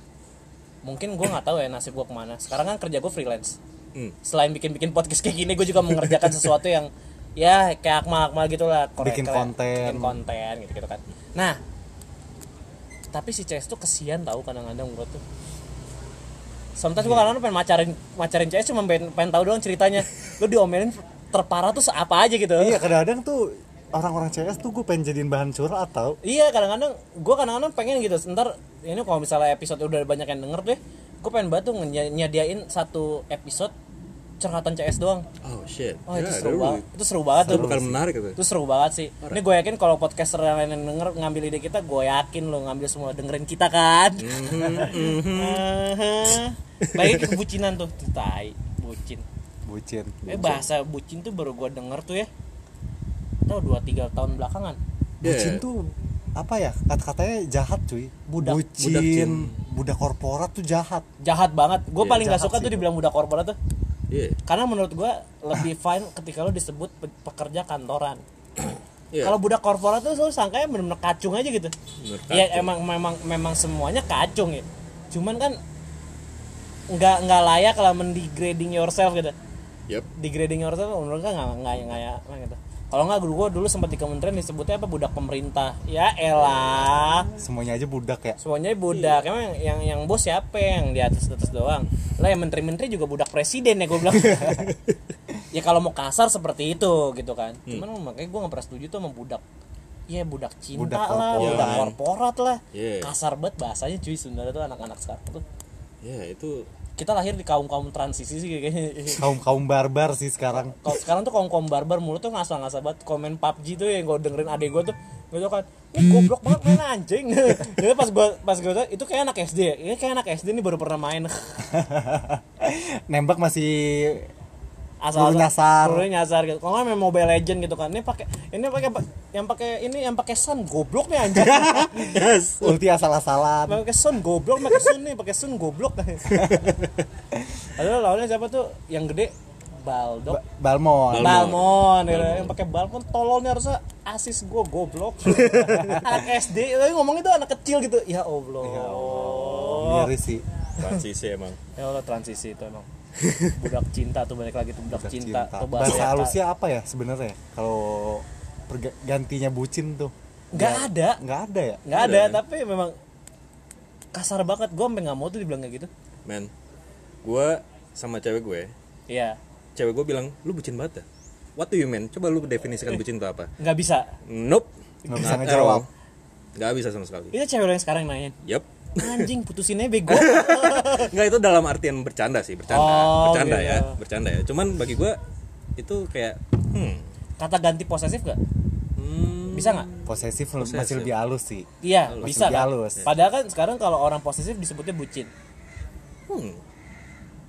S1: mungkin gue nggak tahu ya nasib gue kemana sekarang kan kerja gue freelance
S3: Hmm.
S1: selain bikin-bikin podcast kayak gini gue juga mengerjakan sesuatu yang ya kayak akmal-akmal gitu lah kore-
S2: Bikin
S1: kore-
S2: konten.
S1: bikin konten gitu gitu kan nah tapi si CS tuh kesian tahu kadang-kadang gue tuh Sometimes
S2: Iya.
S1: gue kadang-kadang pengen macarin macarin CS cuma pengen, pengen tahu doang ceritanya. Lu diomelin terparah tuh apa aja gitu.
S2: Iya kadang-kadang tuh orang-orang CS tuh gue pengen jadiin bahan curhat atau
S1: Iya kadang-kadang gue kadang-kadang pengen gitu ntar ini kalau misalnya episode udah banyak yang denger deh gue pengen banget tuh nge- nyediain satu episode curhatan CS doang
S3: Oh shit.
S1: oh itu
S3: Ya,
S1: seru
S3: itu
S1: banget
S3: really-
S1: itu seru banget
S3: Itu
S1: tuh
S3: bukan menarik gitu. itu.
S1: itu seru banget sih ini gue yakin kalau podcaster yang lain yang denger ngambil ide kita gue yakin lo ngambil semua dengerin kita kan lagi kebucinan tuh Tuh, tai bucin
S2: bucin.
S1: eh bahasa bucin tuh baru gue denger tuh ya tau dua tiga tahun belakangan
S2: Bucin
S3: Yeah.
S2: tuh apa ya kata-katanya jahat cuy.
S1: Budak.
S3: Budak, Cin.
S2: Bucin, budak korporat tuh jahat.
S1: jahat banget gue
S3: Iya,
S1: paling gak
S2: jahat
S1: suka
S2: sih
S1: tuh
S2: itu.
S1: dibilang budak korporat tuh
S3: Iya.
S1: karena menurut gue lebih fine ketika lo disebut pe- pekerja kantoran
S3: Iya.
S1: kalau budak korporat tuh lo sangkanya bener-bener kacung aja gitu ya
S3: kacung.
S1: emang memang memang semuanya kacung ya cuman kan nggak nggak layak lah mendegrading yourself gitu
S3: Yep.
S1: degrading yourself menurut gue nggak nggak nggak ya nggak gitu kalau nggak gue dulu sempat di kementerian disebutnya apa budak pemerintah ya elah
S2: Semuanya aja budak ya.
S1: semuanya budak emang yang, yang yang bos siapa yang di atas atas doang lah yang menteri-menteri juga budak presiden ya gue bilang ya kalau mau kasar seperti itu gitu kan
S2: Hmm.
S1: cuman makanya gue nggak pernah setuju tuh sama budak Iya budak cinta
S2: Budak
S1: lah,
S2: korporat.
S1: budak korporat lah,
S3: Iya.
S1: kasar banget bahasanya cuy sebenarnya tuh anak-anak sekarang tuh
S3: Ya, itu
S1: kita lahir di kaum kaum transisi sih kayaknya.
S2: Kaum kaum barbar sih sekarang.
S1: Kalau sekarang tuh kaum kaum barbar mulut tuh ngasal ngasal banget komen PUBG tuh yang gue dengerin adek gue tuh gue tuh kan ini goblok banget main anjing jadi pas gue pas gue tuh itu kayak anak SD ya ini kayak anak SD nih baru pernah main
S2: Nembak masih
S1: asal
S2: Peluru nyasar.
S1: peluru nyasar gitu kalau nggak main Mobile Legend gitu kan ini pakai ini pakai yang pakai ini yang pakai Sun goblok nih anjing
S3: yes.
S2: ulti asal-asalan.
S1: pakai Sun goblok pakai Sun nih pakai Sun goblok padahal lawannya siapa tuh yang gede Baldok
S2: Ba- Balmon.
S1: Balmon, gitu. yang pakai balmon tololnya harusnya asis gue goblok anak SD tapi ngomong itu anak kecil gitu ya allah ya allah,
S2: Miris sih.
S3: Transisi emang.
S1: Ya transisi itu emang budak cinta tuh balik lagi tuh budak, cinta, tuh
S2: Bahasa
S1: bahasa
S2: halusnya apa ya sebenarnya? Kalau perga- gantinya bucin tuh.
S1: nggak ada
S2: Nggak ada
S1: Iya.
S2: ya?
S1: nggak ada tapi memang kasar banget gue sampe nggak mau tuh dibilang kayak gitu
S3: Man. Gua sama cewek gue,
S1: iya
S3: cewek gue bilang, "Lu bucin banget." ya?" What do you mean? Coba lu definisikan bucin itu apa?
S1: nggak bisa
S3: Nope.
S2: Eh. Nggak bisa
S3: Not at
S2: ngejawab.
S3: all. Nggak bisa sama sekali.
S1: itu cewek lo yang sekarang nanyain
S3: Yep.
S1: anjing putusinnya bego
S3: Nggak itu dalam artian bercanda sih, bercanda.
S1: Oh,
S3: bercanda
S1: gitu.
S3: ya, bercanda ya. Cuman bagi gue itu kayak hmm.
S1: kata ganti posesif gak
S3: hmm,
S1: bisa nggak
S2: Posesif,
S3: Posesif.
S2: masih lebih halus sih.
S1: Iya,
S2: Halus.
S1: bisa
S2: Lebih
S1: kan?
S2: halus.
S1: Padahal kan sekarang kalau orang posesif disebutnya bucin.
S3: hmm.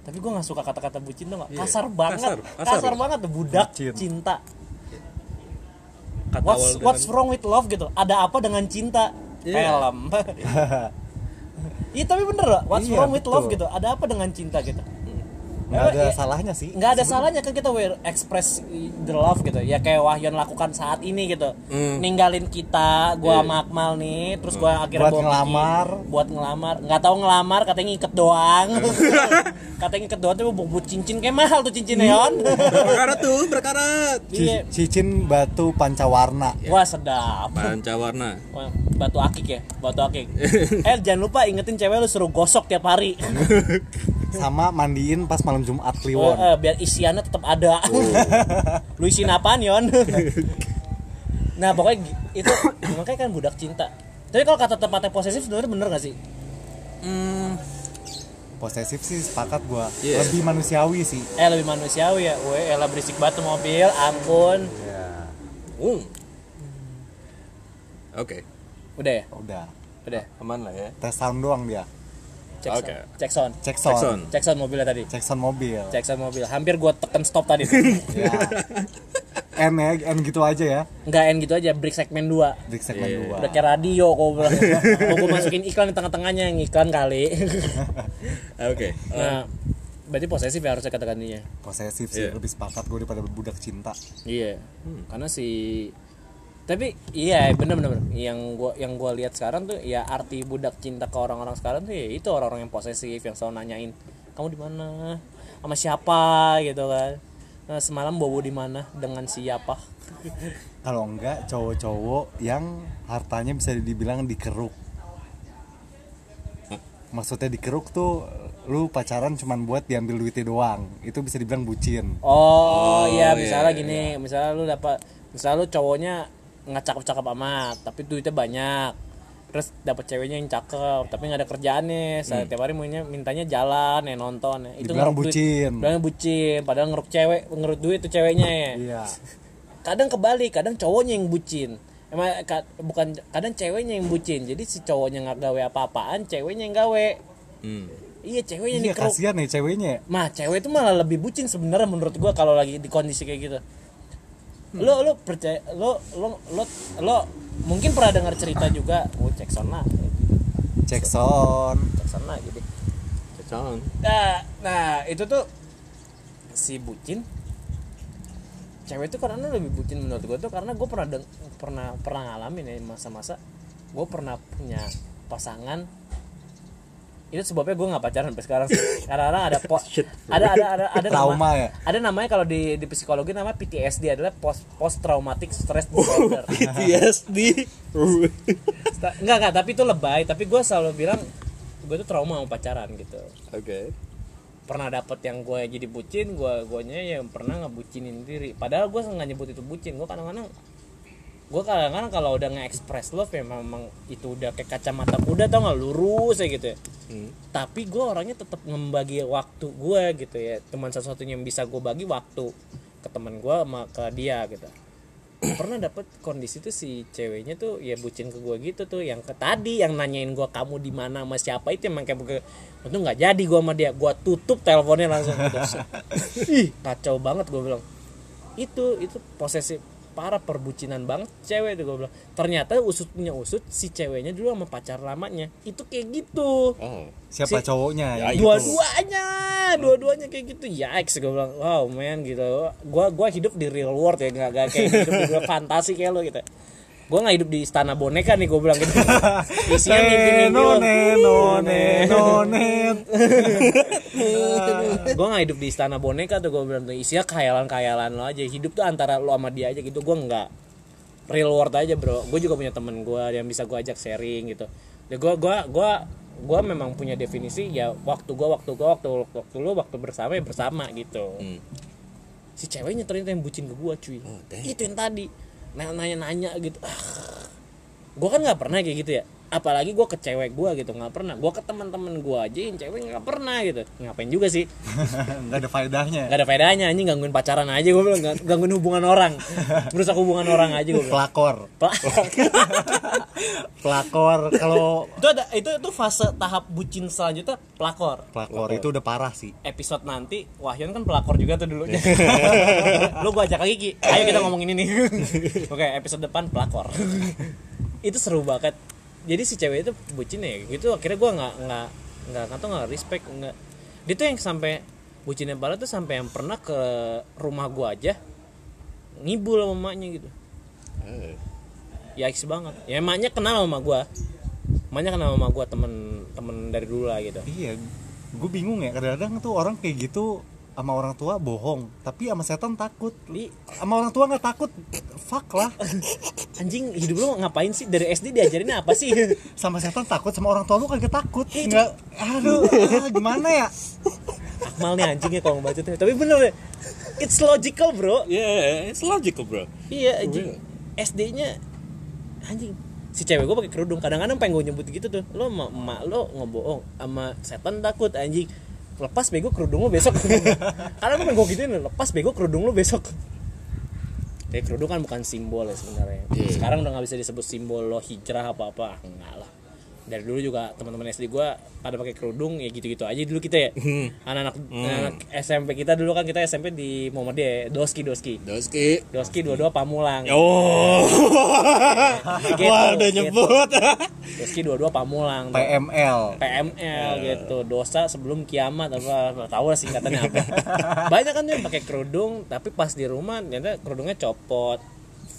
S1: Tapi gue nggak suka kata-kata bucin tuh nggak.
S3: Iya.
S1: Kasar banget,
S3: Kasar,
S1: kasar,
S3: kasar. ya?
S1: banget tuh, budak
S2: Bucin.
S1: cinta.
S3: Kata awal kan,
S1: What's,
S3: dengan-
S1: what's wrong with love gitu? Ada apa dengan cinta?
S3: Iya.
S1: Film. Iya tapi bener loh. What's
S2: Iya,
S1: wrong with love
S2: betul.
S1: gitu? Ada apa dengan cinta gitu?
S2: Nggak ada
S1: Emang, iya,
S2: salahnya sih.
S1: nggak ada salahnya kan kita we express the love gitu ya kayak Wahyon lakukan saat ini gitu
S3: Hmm.
S1: ninggalin kita gua
S3: Iya. Hmm.
S1: sama Akmal nih terus gua akhirnya bawa
S2: Buat
S1: pergi.
S2: ngelamar.
S1: buat ngelamar nggak tahu ngelamar katanya ngiket doang katanya ngiket doang tuh bubuk cincin kayak mahal tuh cincinnya Yon
S3: berkarat tuh, berkarat.
S2: Ci-
S1: iya
S2: Cicin batu pancawarna.
S1: wah sedap
S3: Pancawarna.
S1: Wah, batu akik ya batu akik eh jangan lupa ingetin cewek lu suruh gosok tiap hari
S2: sama mandiin pas malam Jumat
S1: Eh,
S2: Kliwon.
S1: eh, biar isiannya tetap ada. Lu isiin apaan, Yon? nah, pokoknya gi- itu makanya kan budak cinta. Tapi kalau kata tempatnya posesif sebenarnya bener gak sih?
S3: Hmm,
S2: Posesif sih sepakat gua.
S3: Iya.
S2: Lebih manusiawi sih.
S1: Eh lebih manusiawi ya. Weh, elah berisik batu mobil, ampun.
S3: um. Oke,
S1: Udah ya?
S2: Udah.
S1: Udah.
S3: aman lah ya.
S2: Tes sound doang dia.
S3: Oke.
S1: Jackson. Jackson.
S2: cek
S3: Jackson.
S2: sound
S1: Jackson mobilnya tadi.
S2: cek sound mobil
S1: Jackson mobil. Hampir gua tekan stop tadi.
S2: ya N ya N gitu aja ya
S1: Enggak N gitu aja, break segmen 2.
S2: break segmen dua
S1: Udah kayak radio kok gua bilang. Mau gua masukin iklan di tengah-tengahnya yang iklan kali.
S4: Ah,
S3: Oke.
S1: nah, berarti posesif ya harusnya kata-katanya.
S2: posesif sih
S3: Iya.
S2: lebih sepakat gue daripada budak cinta
S1: Iya. Karena si tapi iya bener bener bener. yang gua yang gua lihat sekarang tuh ya arti budak cinta ke orang-orang sekarang tuh ya itu orang-orang yang posesif yang selalu nanyain kamu di mana sama siapa gitu kan Nah, semalam bobo di mana dengan siapa
S2: kalau enggak cowok-cowok yang hartanya bisa dibilang dikeruk maksudnya dikeruk tuh lu pacaran cuman buat diambil duitnya doang itu bisa dibilang bucin
S1: oh, iya misalnya gini misalnya lu dapat misalnya lu cowoknya nggak cakep cakep amat tapi duitnya banyak terus dapat ceweknya yang cakep tapi nggak ada kerjaannya Saat tiap hari maunya mintanya jalan ya nonton ya. itu
S2: Hmm. Dibilang
S1: ngeruk duit.
S2: bucin.
S1: Bilangnya bucin padahal ngeruk cewek ngeruk duit tuh ceweknya ya
S2: iya
S1: kadang kebalik kadang cowoknya yang bucin emang ka- bukan kadang ceweknya yang bucin jadi si cowoknya nggak gawe apa-apaan ceweknya yang gawe
S3: Hmm.
S1: iya ceweknya
S2: iya
S1: yang dikeruk
S2: kasihan nih ceweknya
S1: Mah cewek itu malah lebih bucin sebenarnya menurut gua kalau lagi di kondisi kayak gitu. Lo lo percaya lo lo lo, lo mungkin pernah dengar cerita juga, oh cek sana,
S2: cek sound
S1: cek sana gitu.
S3: Jackson.
S1: Nah, nah itu tuh si bucin cewek itu karena lebih bucin menurut gue tuh karena gue pernah deng- pernah pernah ngalamin ya masa-masa gue pernah punya pasangan itu sebabnya gue nggak pacaran sampai sekarang sih. karena karena ada po- ada ada ada ada
S2: Trauma
S1: nama-
S2: ya?
S1: ada namanya kalau di di psikologi namanya PTSD adalah post post traumatic stress
S2: Oh.
S1: disorder
S3: PTSD.
S1: Sta- nggak nggak tapi itu lebay tapi gue selalu bilang gue tuh trauma sama pacaran gitu
S3: Oke.
S1: pernah dapet yang gue jadi bucin gue guanya yang pernah ngebucinin diri padahal gue nggak nyebut itu bucin gue kadang-kadang gue kadang-kadang kalau udah nge-express love ya memang itu udah kayak kacamata kuda tau nggak lurus ya gitu ya.
S3: Hmm.
S1: tapi gue orangnya tetap membagi waktu gue gitu ya teman satu-satunya yang bisa gue bagi waktu ke teman gue sama ke dia gitu pernah dapet kondisi tuh si ceweknya tuh ya bucin ke gue gitu tuh yang ke tadi yang nanyain gue kamu di mana sama siapa itu emang kayak gue untung nggak jadi gue sama dia gue tutup teleponnya langsung gitu. ih kacau banget gue bilang itu itu posesif para perbucinan banget cewek tuh gue bilang ternyata usut punya usut si ceweknya dulu sama pacar lamanya itu kayak gitu
S3: Oh.
S2: siapa
S1: Si-
S2: cowoknya
S3: Ya,
S2: gitu.
S1: dua-duanya dua-duanya kayak gitu ya gue bilang wow man gitu gua gua hidup di real world ya nggak nggak kayak hidup di gua fantasi kayak lo gitu gua nggak hidup di istana boneka nih gua bilang gitu isinya mimpi-mimpi
S2: Neno,
S1: lo
S2: neno, neno, neno.
S1: gua nggak hidup di istana boneka tuh gua bilang tuh isinya khayalan-khayalan lo aja hidup tuh antara lo sama dia aja gitu gua nggak real world aja bro gue juga punya temen gua yang bisa gua ajak sharing gitu ya gua gua gua gua memang punya definisi ya waktu gua waktu gua waktu waktu lu waktu bersama ya bersama gitu
S3: Hmm.
S1: si ceweknya ternyata yang bucin ke gua cuy
S3: Oh, damn.
S1: itu yang tadi Nah, nanya-nanya gitu Ah. gua kan nggak pernah kayak gitu ya apalagi gua ke cewek gua gitu nggak pernah gua ke teman-teman gua aja yang cewek nggak pernah gitu ngapain juga sih
S2: nggak ada faedahnya
S1: nggak ada faedahnya anjing gangguin pacaran aja gue bilang gang- gangguin hubungan orang merusak hubungan orang aja gue bilang
S2: pelakor
S1: Pel-
S2: pelakor kalau
S1: itu ada itu itu fase tahap bucin selanjutnya pelakor
S2: pelakor itu udah parah sih
S1: episode nanti Wahyon kan pelakor juga tuh dulu lu gua ajak lagi Ki ayo kita ngomongin ini oke episode depan pelakor itu seru banget jadi si cewek itu bucin ya gitu akhirnya gua nggak nggak nggak nggak tau nggak respect nggak dia tuh yang sampai bucin yang parah tuh sampai yang pernah ke rumah gua aja ngibul sama emaknya gitu
S3: Eh.
S1: ya eksis banget ya emaknya kenal sama gua emaknya kenal sama gua temen temen dari dulu lah gitu
S2: iya gue bingung ya kadang-kadang tuh orang kayak gitu sama orang tua bohong tapi sama setan takut
S1: Ih.
S2: sama orang tua nggak takut fuck lah
S1: anjing hidup lu ngapain sih dari SD diajarinnya apa sih
S2: sama setan takut sama orang tua lu kagak takut nggak aduh ah, gimana ya
S1: Akmal nih anjingnya kalau ngebacotnya tapi bener ya it's logical bro
S3: Yeah, it's logical, bro.
S1: iya anjing SD nya anjing si cewek gue pakai kerudung kadang-kadang pengen gue nyebut gitu tuh lo sama emak lo ngebohong sama setan takut anjing lepas bego kerudung lo besok karena gue pengen gue gituin lepas bego kerudung lo besok ya kerudung kan bukan simbol ya sebenarnya
S3: Iya.
S1: sekarang udah nggak bisa disebut simbol lo hijrah apa apa enggak lah dari dulu juga teman-teman SD gua pada pakai kerudung ya gitu-gitu aja dulu kita ya anak-anak anak SMP kita dulu kan kita SMP di Muhammadiyah ya, doski doski
S4: Doski.
S1: doski dua-dua pamulang
S4: Oh. Wah, udah
S1: gitu.
S4: nyebut.
S1: doski dua-dua pamulang
S2: PML
S1: PML gitu dosa sebelum kiamat apa nggak tahu lah singkatannya apa banyak kan tuh yang pakai kerudung tapi pas di rumah ternyata kerudungnya copot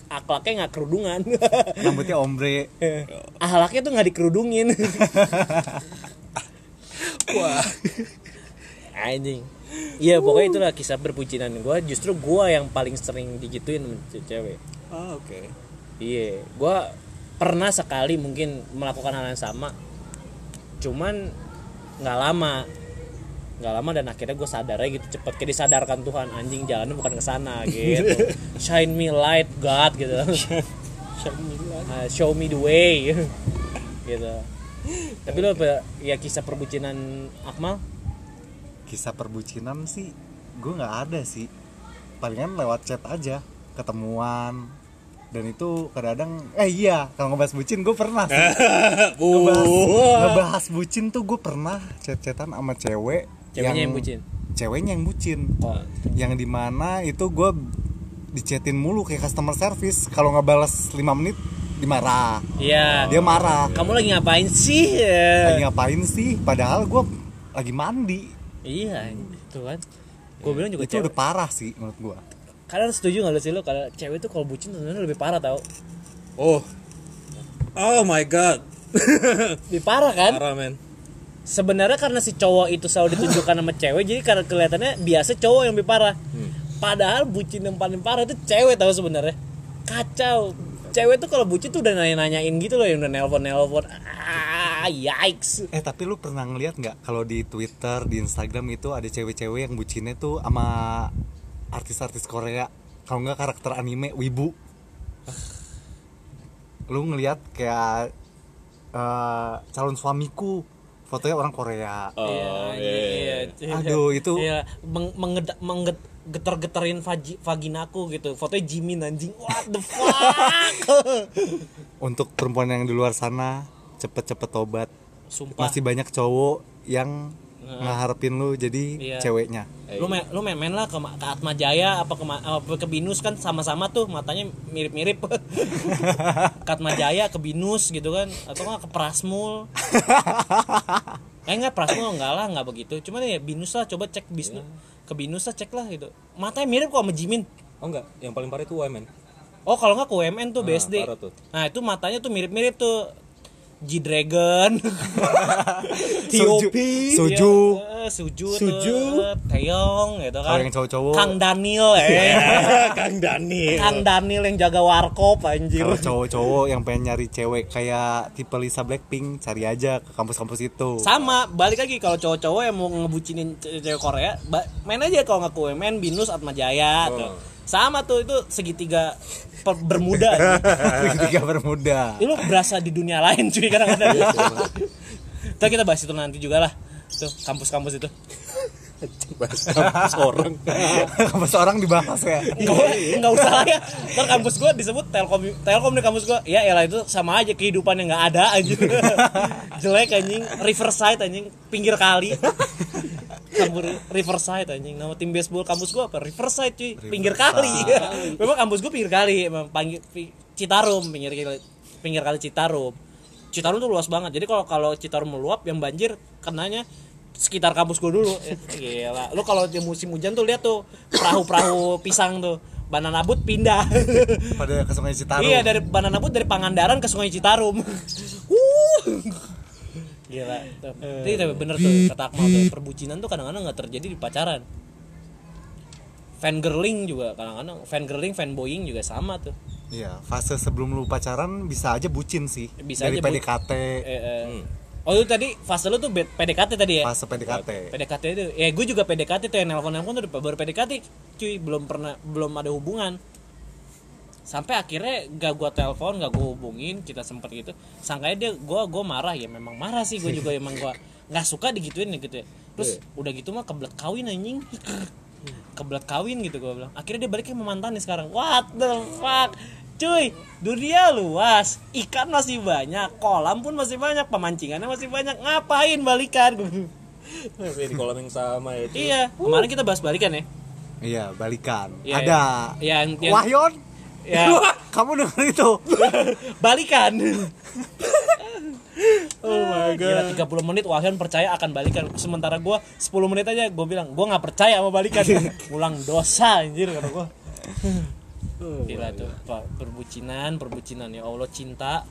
S1: akhlaknya nggak kerudungan
S2: rambutnya ombre
S1: akhlaknya tuh nggak dikerudungin
S4: Wah.
S1: anjing iya pokoknya itulah kisah berpujinan gua justru gua yang paling sering digituin sama ce- cewek
S4: Ah, oke.
S1: iya gua pernah sekali mungkin melakukan hal yang sama cuman nggak lama nggak lama dan akhirnya gue sadarnya gitu cepet kayak disadarkan Tuhan anjing jalannya bukan ke sana gitu shine me light God gitu Uh, show me the way gitu tapi lo apa- ya kisah perbucinan Akmal
S2: kisah perbucinan sih gue nggak ada sih palingan lewat chat aja ketemuan dan itu kadang eh iya kalau ngebahas bucin gue pernah sih ngebahas, ngebahas bucin tuh gue pernah chat-chatan sama cewek
S1: Ceweknya yang bucin?
S2: ceweknya yang bucin
S1: Oh.
S2: yang dimana itu gue dicetin mulu kayak customer service kalau nggak balas 5 menit dimarah
S1: iya
S2: dia marah
S1: kamu lagi ngapain sih
S2: lagi ngapain sih padahal gue lagi mandi
S1: iya itu kan gue bilang juga
S2: itu
S1: cewek
S2: udah parah sih menurut gue
S1: kalian setuju nggak lo sih lo kalau cewek tuh kalau bucin sebenarnya lebih parah tau
S4: Oh. Oh my god.
S1: lebih parah kan
S4: Parah men.
S1: sebenarnya karena si cowok itu selalu ditunjukkan sama cewek jadi karena kelihatannya biasa cowok yang lebih parah padahal bucin yang paling parah itu cewek tahu sebenarnya kacau cewek tuh kalau bucin tuh udah nanya-nanyain gitu loh yang udah nelpon-nelpon ah yikes
S2: Eh tapi lu pernah ngeliat nggak kalau di Twitter, di Instagram itu ada cewek-cewek yang bucinnya tuh sama artis-artis Korea, kalau nggak karakter anime Wibu. Lu ngeliat kayak eh, calon suamiku fotonya orang Korea.
S4: Oh,
S1: iya, iya.
S2: Aduh, itu-
S1: Iya, meng- mengeda- mengget- geter-geterin vagi- vaginaku gitu fotonya Jimin anjing what the fuck
S2: Untuk perempuan yang di luar sana cepet-cepet tobat.
S1: sumpah
S2: Masih banyak cowok yang ngeharapin lu jadi
S1: Iya.
S2: ceweknya.
S1: lu me- lu main lah ke, ma- ke Atma Jaya apa ke, ma- apa ke Binus kan sama-sama tuh matanya mirip-mirip ke Atma Jaya ke Binus gitu kan atau nggak ke Prasmul eh nggak Prasmul nggak lah nggak begitu cuman ya Binus lah coba cek Bisnu ke Binus lah cek lah gitu matanya mirip kok sama Jimin
S3: Oh enggak, yang paling parah itu UMN.
S1: oh kalau nggak ke UMN tuh BSD
S3: parah tuh.
S1: nah itu matanya tuh mirip-mirip tuh G Dragon
S2: Soju-
S3: Iya.
S2: Soju.
S1: Ya, eh, Suju,
S4: Suju.
S1: tuh, Taeyong gitu kan.
S2: Kalau yang cowok-cowok-
S1: Kang Daniel eh.
S4: Kang Dani.
S3: Iya.
S1: Kang Kan Daniel yang jaga warkop anjir.
S2: Kalau cowok-cowok yang pengen nyari cewek kayak tipe Lisa Blackpink, cari aja ke kampus-kampus itu.
S1: Sama, balik lagi kalau cowok-cowok yang mau ngebucinin ce- cewek Korea, ba- main aja kalau nggak kue main Binus Atma Jaya tuh. Sama tuh itu segitiga per- bermuda. anjing.
S2: Tiga bermuda.
S1: Ih, lu berasa di dunia lain cuy kadang-kadang. Tuh kita bahas itu nanti juga lah. Tuh kampus-kampus itu.
S4: Kampus orang.
S2: Kampus orang dibahas ya.
S1: Nggak nggak usah lah ya. Ntar kampus gua disebut Telkom Telkom di kampus gua. Ya elah itu sama aja kehidupan yang nggak ada anjing. Jelek anjing, Riverside anjing, pinggir kali. Kampus Riverside anjing. Nama tim baseball kampus gua apa? Riverside cuy, pinggir kali. Memang kampus gua pinggir kali, emang panggil pi- Citarum pinggir kali, pinggir kali Citarum. Citarum tuh luas banget. Jadi kalau kalau Citarum meluap yang banjir kenanya sekitar kampus gue dulu Eh, gila lu kalau di musim hujan tuh lihat tuh perahu-perahu pisang tuh banana boat pindah
S2: Pada ke Sungai Citarum.
S1: iya dari banana boat dari Pangandaran ke Sungai Citarum Wuh. gila tuh.
S2: Eh,
S1: Jadi tapi bener tuh kata Akmal tuh perbucinan tuh kadang-kadang nggak terjadi di pacaran fangirling juga kadang-kadang fangirling fanboying juga sama tuh
S2: Iya, fase sebelum lu pacaran bisa aja bucin sih.
S1: Bisa
S2: Dari
S1: aja bucin.
S2: PDKT,
S1: eh, eh. oh itu tadi fase lu tuh be- PDKT tadi ya
S2: Hmm. fase PDKT.
S1: PDKT itu ya gue juga PDKT tuh yang nelpon nelpon tuh baru PDKT cuy belum pernah belum ada hubungan sampai akhirnya gak gue telepon gak gue hubungin kita sempet gitu sangkanya dia gue gue marah ya memang marah sih gue juga emang gue nggak suka digituin ya gitu ya terus udah gitu mah kebelet kawin anjing kebelet kawin gitu gue bilang akhirnya dia baliknya sama mantannya sekarang what the fuck Cuy, dunia luas, ikan masih banyak, kolam pun masih banyak, pemancingannya masih banyak. Ngapain balikan?
S3: Tapi di kolam yang sama ya. cuy.
S1: iya, kemarin kita bahas balikan ya.
S2: Iya, balikan.
S1: Iya,
S2: Ada.
S1: iya. Yang- yang-
S2: Wahyon.
S1: Ya,
S2: Kamu denger itu?
S1: balikan. oh my god. Gila 30 menit Wahyon percaya akan balikan. Sementara gua 10 menit aja gua bilang gua nggak percaya sama balikan. Ulang dosa anjir kata gua. Gila tuh, Pak. Perbucinan, perbucinan ya Allah cinta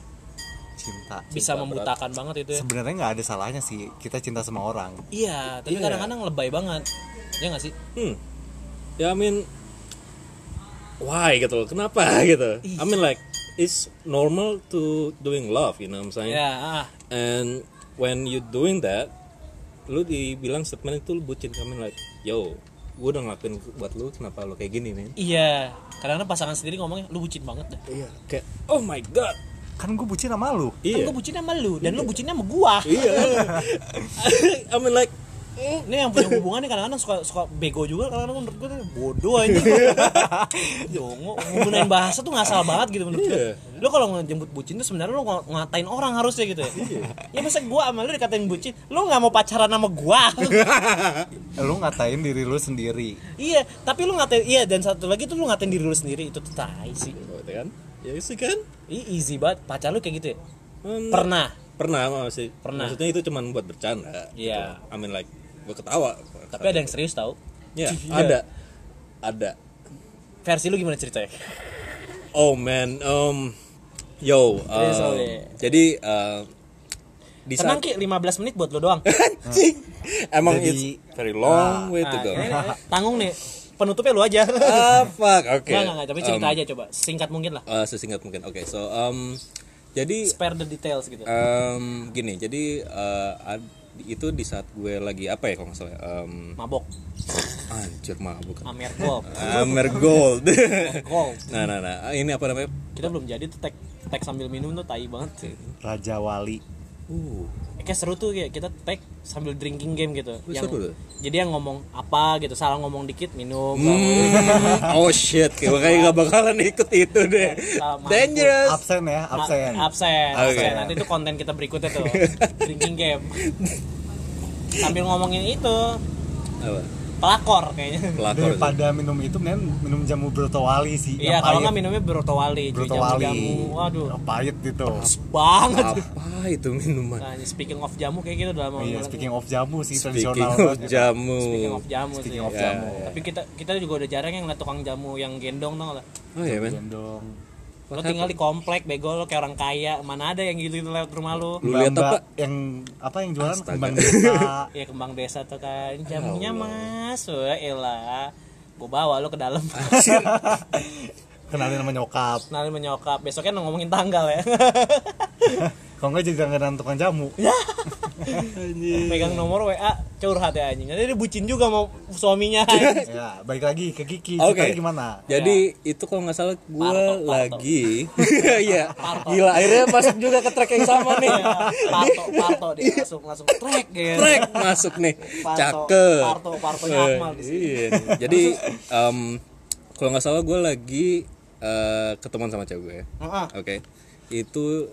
S2: Cinta.
S1: bisa membutakan banget itu ya.
S2: Sebenarnya nggak ada salahnya sih kita cinta sama orang.
S1: Iya, tapi
S3: Iya.
S1: kadang-kadang lebay banget. Ya nggak sih?
S3: Hmm. Ya I mean why gitu loh. Kenapa gitu. I mean like it's normal to doing love, you know what I'm saying?
S1: Ya, ah.
S3: And when you doing that, lu dibilang statement itu lu bucin kami like, yo, gue udah ngelakuin buat lu, kenapa lu kayak gini nih?
S1: Iya. Kadang-kadang pasangan sendiri ngomongnya lu bucin banget dah.
S3: Iya, kayak oh my god,
S2: Kan gue bucin sama lu.
S1: Kan
S3: iya,
S1: gua bucinnya sama lu dan lu bucinnya sama gua.
S3: iya. I mean like, mm,
S1: Ini yang punya hubungan nih kadang-kadang suka suka bego juga kadang-kadang menurut gue tuh bodoh aja.
S3: Iya.
S1: Jongo menggunain bahasa tuh nggak salah banget gitu menurut
S3: Iya.
S1: gue. Lo kalau ngejemput bucin tuh sebenarnya lo ng- ngatain orang harusnya gitu ya.
S3: Iya.
S1: ya masa gua sama lo dikatain bucin, lo nggak mau pacaran sama gua.
S2: Lu ngatain diri lu sendiri.
S1: iya, tapi lo ngatain iya dan satu lagi tuh lo ngatain diri lo sendiri itu tuh tai sih.
S3: gitu kan? Ya sih kan?
S1: Ih, easy banget pacar lo kayak gitu ya.
S3: Hmm,
S1: Pernah.
S3: pernah masih
S1: Pernah.
S3: maksudnya itu cuma buat bercanda
S1: Iya.
S3: gitu. I mean like gue ketawa
S1: Tapi ada yang serius tau.
S3: Iya,
S1: Iya.
S3: ada ada
S1: Versi lu gimana ceritanya?
S3: oh man um yo um,
S1: Eh, sorry.
S3: jadi uh, di
S1: Tenang
S3: saat
S1: Ki, 15 menit buat lo doang.
S3: anjing emang
S2: Jadi-
S3: it's very long way to
S1: Ah,
S3: go
S1: ini- tanggung nih. Penutupnya lu aja.
S3: ah fuck oke
S1: Nggak, nggak, nggak, tapi cerita
S3: Um,
S1: aja coba, singkat mungkin lah.
S3: uh, sesingkat mungkin oke so um jadi
S1: Spare the details gitu.
S3: um, gini jadi uh, ad- itu di saat gue lagi apa ya kalau nggak salah um,
S1: Mabok,
S3: anjir mabuk
S1: Amer Gold,
S3: Amer Gold.
S1: Gold.
S3: nah, nah, nah. Ini apa namanya?
S1: Kita belum jadi tuh tag tag sambil minum tuh tai banget.
S2: Raja Wali.
S3: Uh,
S1: Eh, Kayak seru tuh kayak kita tag sambil drinking game gitu.
S3: Wih, seru tuh.
S1: jadi yang ngomong apa gitu, salah ngomong dikit minum.
S3: Hmm, oh shit, kayak kayak gak bakalan ikut itu deh.
S1: Sama.
S3: Dangerous.
S2: Absen
S1: Ma-
S2: ya, absen.
S1: Nah, absen,
S3: Oke.
S1: absen. Nanti itu konten kita berikutnya tuh drinking game. Sambil ngomongin itu
S3: Apa?
S1: pelakor kayaknya.
S3: Pelakor. tuh.
S2: Daripada minum itu men minum jamu Broto Wali sih.
S1: Iya,
S2: yang
S1: kalau
S2: pahit.
S1: nggak minumnya brotowali, cuy,
S2: Broto
S1: jamu,
S2: Wali.
S1: jamu. Waduh,
S2: Yang Pahit gitu.
S1: pas banget.
S3: Apa itu minuman?
S1: Nah, speaking of jamu kayak gitu dalam
S2: Iya, speaking of jamu sih
S3: Speaking
S2: tradisional.
S3: of
S2: banget.
S3: jamu.
S1: speaking of jamu
S2: Speaking
S1: sih.
S2: of
S1: ya.
S2: jamu.
S1: Tapi kita kita juga udah jarang yang ngeliat tukang jamu yang gendong tau nggak lah.
S3: Oh
S1: Iya.
S3: ya men.
S2: Gendong.
S1: Lo tinggal di komplek bego lo kayak orang kaya, mana ada yang gitu gitu lewat rumah lo.
S3: Lu lihat
S2: Mbak-mbak
S3: apa?
S2: yang apa yang jualan kembang desa.
S1: Ya kembang desa tuh kan
S2: Ya
S1: jamunya Mas. Wah, elah. Gua bawa lo ke dalam.
S2: Kenalin sama nyokap.
S1: Nanti menyokap. Besoknya ngomongin tanggal ya.
S2: Kalau nggak jadi langganan tukang jamu.
S3: Ya.
S1: Pegang nomor WA curhat ya anjing. Nanti dia bucin juga mau suaminya.
S2: Ya, balik lagi ke Kiki.
S3: Oke.
S2: Ceritanya gimana?
S3: Jadi itu kalau nggak salah gue
S1: Parto, parto.
S3: lagi, iya, gila akhirnya masuk juga ke track yang sama nih,
S1: Parto, parto Iya. dia langsung langsung trek gitu.
S3: track masuk nih,
S1: Parto,
S3: cakep.
S1: Parto, partonya Akmal di sini.
S3: Iya. nih. Jadi em, kalau nggak salah gue lagi eh, ketemuan sama cewek gue.
S1: Heeh.
S3: Oke. Itu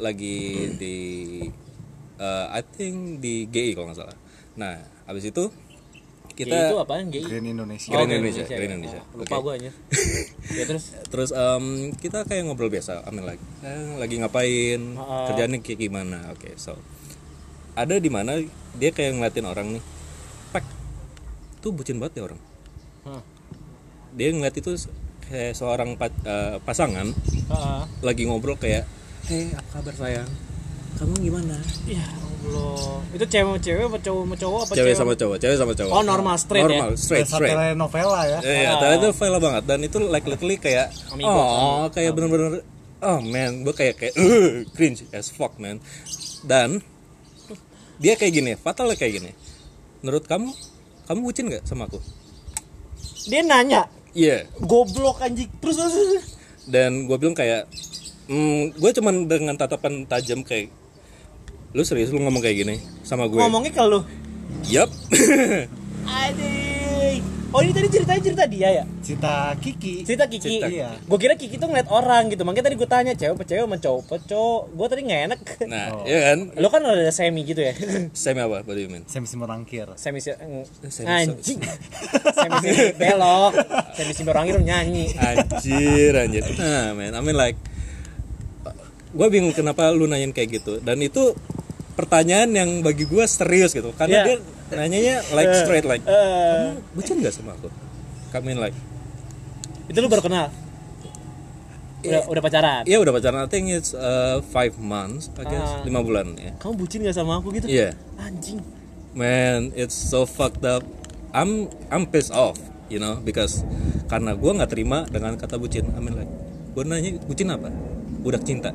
S3: lagi di eh, I think di GI kalau nggak salah. Nah, habis itu kita
S1: Kita itu Gitu, apaan GI?
S2: Green Indonesia.
S3: Green
S1: Oh, Green
S3: Indonesia,
S1: Indonesia,
S3: Green
S1: ya.
S3: Indonesia.
S1: Ah, lupa
S3: Oke.
S1: gue aja. ya terus
S3: terus em, kita kayak ngobrol biasa I mean like eh, lagi ngapain
S1: Heeh.
S3: kerjaannya kayak gimana oke so ada di mana dia kayak ngeliatin orang nih pek tuh bucin banget ya orang
S1: Hah.
S3: dia ngeliat itu se- kayak seorang pa- eh, pasangan
S1: Heeh.
S3: lagi ngobrol kayak hei apa kabar sayang kamu gimana
S1: ya Allah. Itu cewek sama cewek apa cowok sama cowok apa
S3: cewek sama cowok cewek sama cowok
S1: Oh, normal, straight ya?
S3: normal straight
S2: Desa
S3: straight
S2: telenovela ya.
S3: Iya, ternyata file banget dan itu like literally kayak
S1: Amigo,
S3: oh, kayak bener-bener oh man, gue kayak kayak "Ugh, cringe as fuck man. Dan dia kayak gini, fatalnya kayak gini. Menurut kamu, kamu bucin gak sama aku?
S1: Dia nanya,
S3: Iya.
S1: goblok anjing. Terus terus, terus.
S3: Dan gue bilang kayak mm, gue cuman dengan tatapan tajam kayak lu serius lu ngomong kayak gini sama gue?
S1: ngomongnya ke lu.
S3: Yap.
S1: Anjing. oh ini tadi ceritanya cerita dia ya
S2: Cita Kiki.
S1: cerita Kiki
S2: Cerita, iya.
S1: gue kira Kiki tuh ngeliat orang gitu makanya tadi gue tanya cewek apa cewek sama cowok apa cowok gue tadi nggak enak
S3: Nah, ya kan?
S1: lo kan ada semi gitu ya
S3: Semi apa? What do you mean?
S2: Semi Simorangkir.
S1: semi si ng-
S3: Eh, Semi-
S1: anjing semi si belok semi si orang itu nyanyi
S3: Anjir, anjir. Nah, man, I mean like gue bingung kenapa lu nanyain kayak gitu dan itu pertanyaan yang bagi gue serius gitu
S1: Yeah.
S3: karena dia nanyanya like straight like
S1: Eh,
S3: kamu bucin gak sama aku kami like
S1: itu lu baru kenal udah, udah pacaran
S3: ya udah pacaran I think it's uh, five months I guess
S1: Ah.
S3: lima bulan ya
S1: kamu bucin gak sama aku gitu
S3: Iya.
S1: anjing
S3: man it's so fucked up I'm I'm pissed off you know because karena gue nggak terima dengan kata bucin I mean like gue nanya bucin apa budak cinta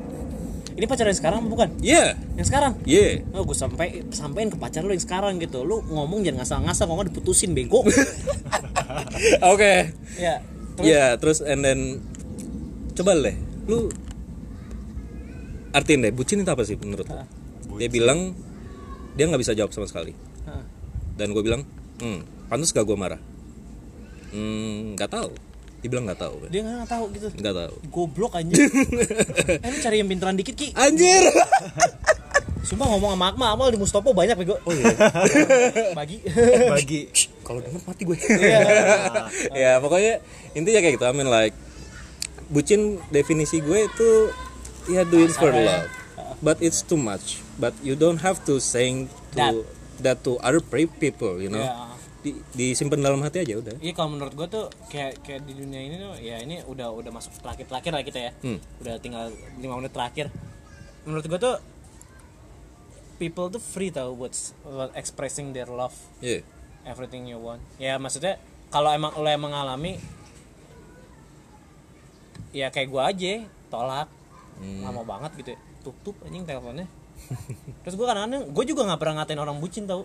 S1: ini pacaran yang sekarang bukan
S3: yeah
S1: yang sekarang
S3: yeah
S1: Oh, gue sampai sampein ke pacar lu yang sekarang gitu. Lu ngomong jangan ngasal-ngasal, kalau nggak diputusin bego.
S3: oke
S1: ya.
S3: ya terus and then coba deh lu artiin deh bucin itu apa sih menurut lu? dia bilang dia nggak bisa jawab sama sekali
S1: Heeh.
S3: dan gue bilang hmm pantas gak gue marah hmm nggak tahu dibilang nggak tahu
S1: Dia nggak tahu gitu.
S3: nggak tahu
S1: Goblok anjing. eh, lu cari yang pinteran dikit, Ki.
S3: Anjir.
S1: Sumpah ngomong sama Akmal, Akmal di Mustopo banyak bego. Oh iya. Bagi.
S2: Bagi
S3: Kalau denger mati gue. ya, pokoknya intinya kayak gitu. I mean like bucin definisi gue itu ya do it for love. But it's too much. But you don't have to saying to that, to other pre- people, you know.
S1: Ya.
S3: Di, disimpan dalam hati aja udah.
S1: Iya kalau menurut gue tuh kayak kayak di dunia ini tuh ya ini udah udah masuk terakhir terakhir lah kita ya. Udah tinggal lima menit terakhir. Menurut gue tuh people tuh free tau buat buat expressing their love
S3: Yeah.
S1: everything you want. Ya maksudnya kalau emang lo emang mengalami ya kayak gue aja tolak lama banget gitu ya. tutup anjing teleponnya terus gue kadang-kadang gue juga nggak pernah ngatain orang bucin tau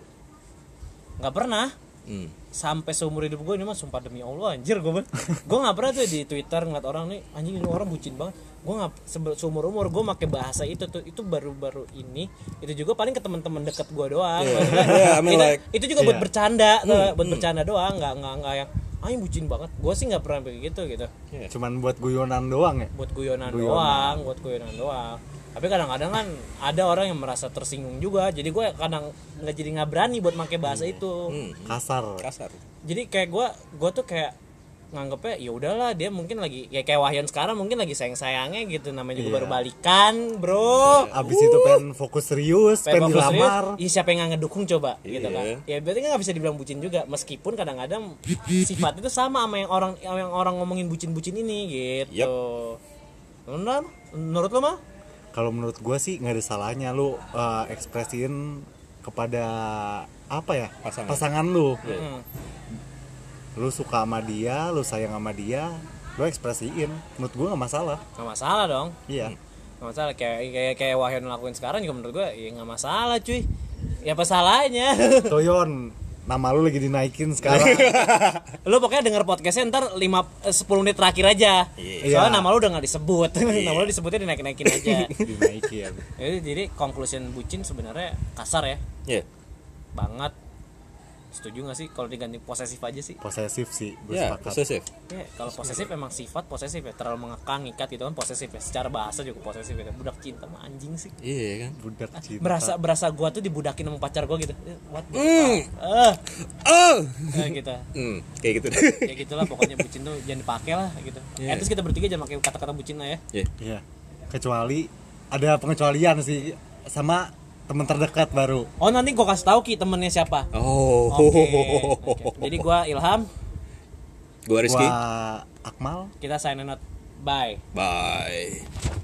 S1: nggak pernah
S3: Hmm.
S1: sampai seumur hidup gue ini mah sumpah demi Allah anjir gue ben- gue nggak pernah tuh di Twitter ngeliat orang nih anjing ini orang bucin banget gue nggak sebe- seumur umur gue make bahasa itu tuh itu baru baru ini itu juga paling ke teman-teman deket gue doang Maksudnya,
S3: Yeah, Iya. I mean
S1: itu,
S3: like- iya. Hmm,
S1: itu juga buat bercanda tuh, buat bercanda doang nggak nggak nggak yang anjing bucin banget gue sih nggak pernah begitu gitu
S2: cuman buat guyonan doang ya.
S1: buat guyonan,
S2: Guyonan.
S1: doang, buat guyonan doang. Tapi kadang-kadang kan ada orang yang merasa tersinggung juga. Jadi gue kadang nggak jadi nggak berani buat make
S3: Hmm.
S1: bahasa itu.
S2: Kasar.
S3: Kasar.
S1: Jadi kayak gue, gue tuh kayak nganggepnya ya udahlah dia mungkin lagi ya kayak Wahyan sekarang mungkin lagi sayang-sayangnya gitu namanya juga
S2: Iya.
S1: baru balikan, Bro.
S2: Abis itu pengen fokus serius, pengen,
S1: fokus serius, Iya.
S2: dilamar.
S1: Ih, siapa yang nggak ngedukung coba gitu kan.
S3: Iya.
S1: Ya berarti kan nggak bisa dibilang bucin juga meskipun kadang-kadang sifatnya itu sama sama yang orang yang orang ngomongin bucin-bucin ini gitu. Menurut, menurut lo mah?
S2: Kalau menurut gua sih nggak ada salahnya lu eh, ekspresiin kepada apa ya
S3: Pasangan.
S2: lu.
S1: Hmm.
S2: Lu suka sama dia, lu sayang sama dia, lu ekspresiin. Menurut gua nggak masalah.
S1: nggak masalah dong
S2: Iya.
S1: nggak masalah kayak kayak kayak Wahyu lakuin sekarang juga menurut gue ya nggak masalah cuy ya apa salahnya
S2: Toyon, nama lu lagi dinaikin sekarang.
S1: lu pokoknya denger podcastnya ntar lima eh, 10 menit terakhir aja
S2: Iya.
S1: soalnya nama lu udah nggak disebut
S3: Iya.
S1: nama lu disebutnya dinaikin naikin aja
S2: dinaikin.
S1: jadi jadi conclusion bucin sebenarnya kasar ya
S3: Yeah.
S1: banget setuju nggak sih kalau diganti posesif aja sih
S2: Posesif sih, gue
S3: Yeah,
S2: sepakat.
S3: possessive.
S1: ya kalau posesif emang sifat posesif ya terlalu mengekang ikat gitu kan posesif ya secara bahasa juga posesif ya budak cinta mah anjing sih
S3: Iya kan.
S2: Budak cinta.
S1: berasa berasa gua tuh dibudakin sama pacar gua gitu Eh, what the
S3: Hmm.
S1: fuck? Eh,
S3: Oh.
S1: eh, gitu
S3: Hmm, kayak gitu deh.
S1: ya gitulah pokoknya bucin tuh jangan dipakai lah gitu
S3: Iya.
S1: at least kita bertiga jangan pakai kata-kata bucin lah ya
S3: Yeah.
S2: Iya. Kecuali ada pengecualian sih sama temen terdekat baru.
S1: oh nanti gua kasih tahu ki temennya siapa
S3: Oh.
S1: oke oke. jadi gua Ilham
S3: Gue Rizky.
S2: Gua Akmal.
S1: kita sign out bye
S3: Bye.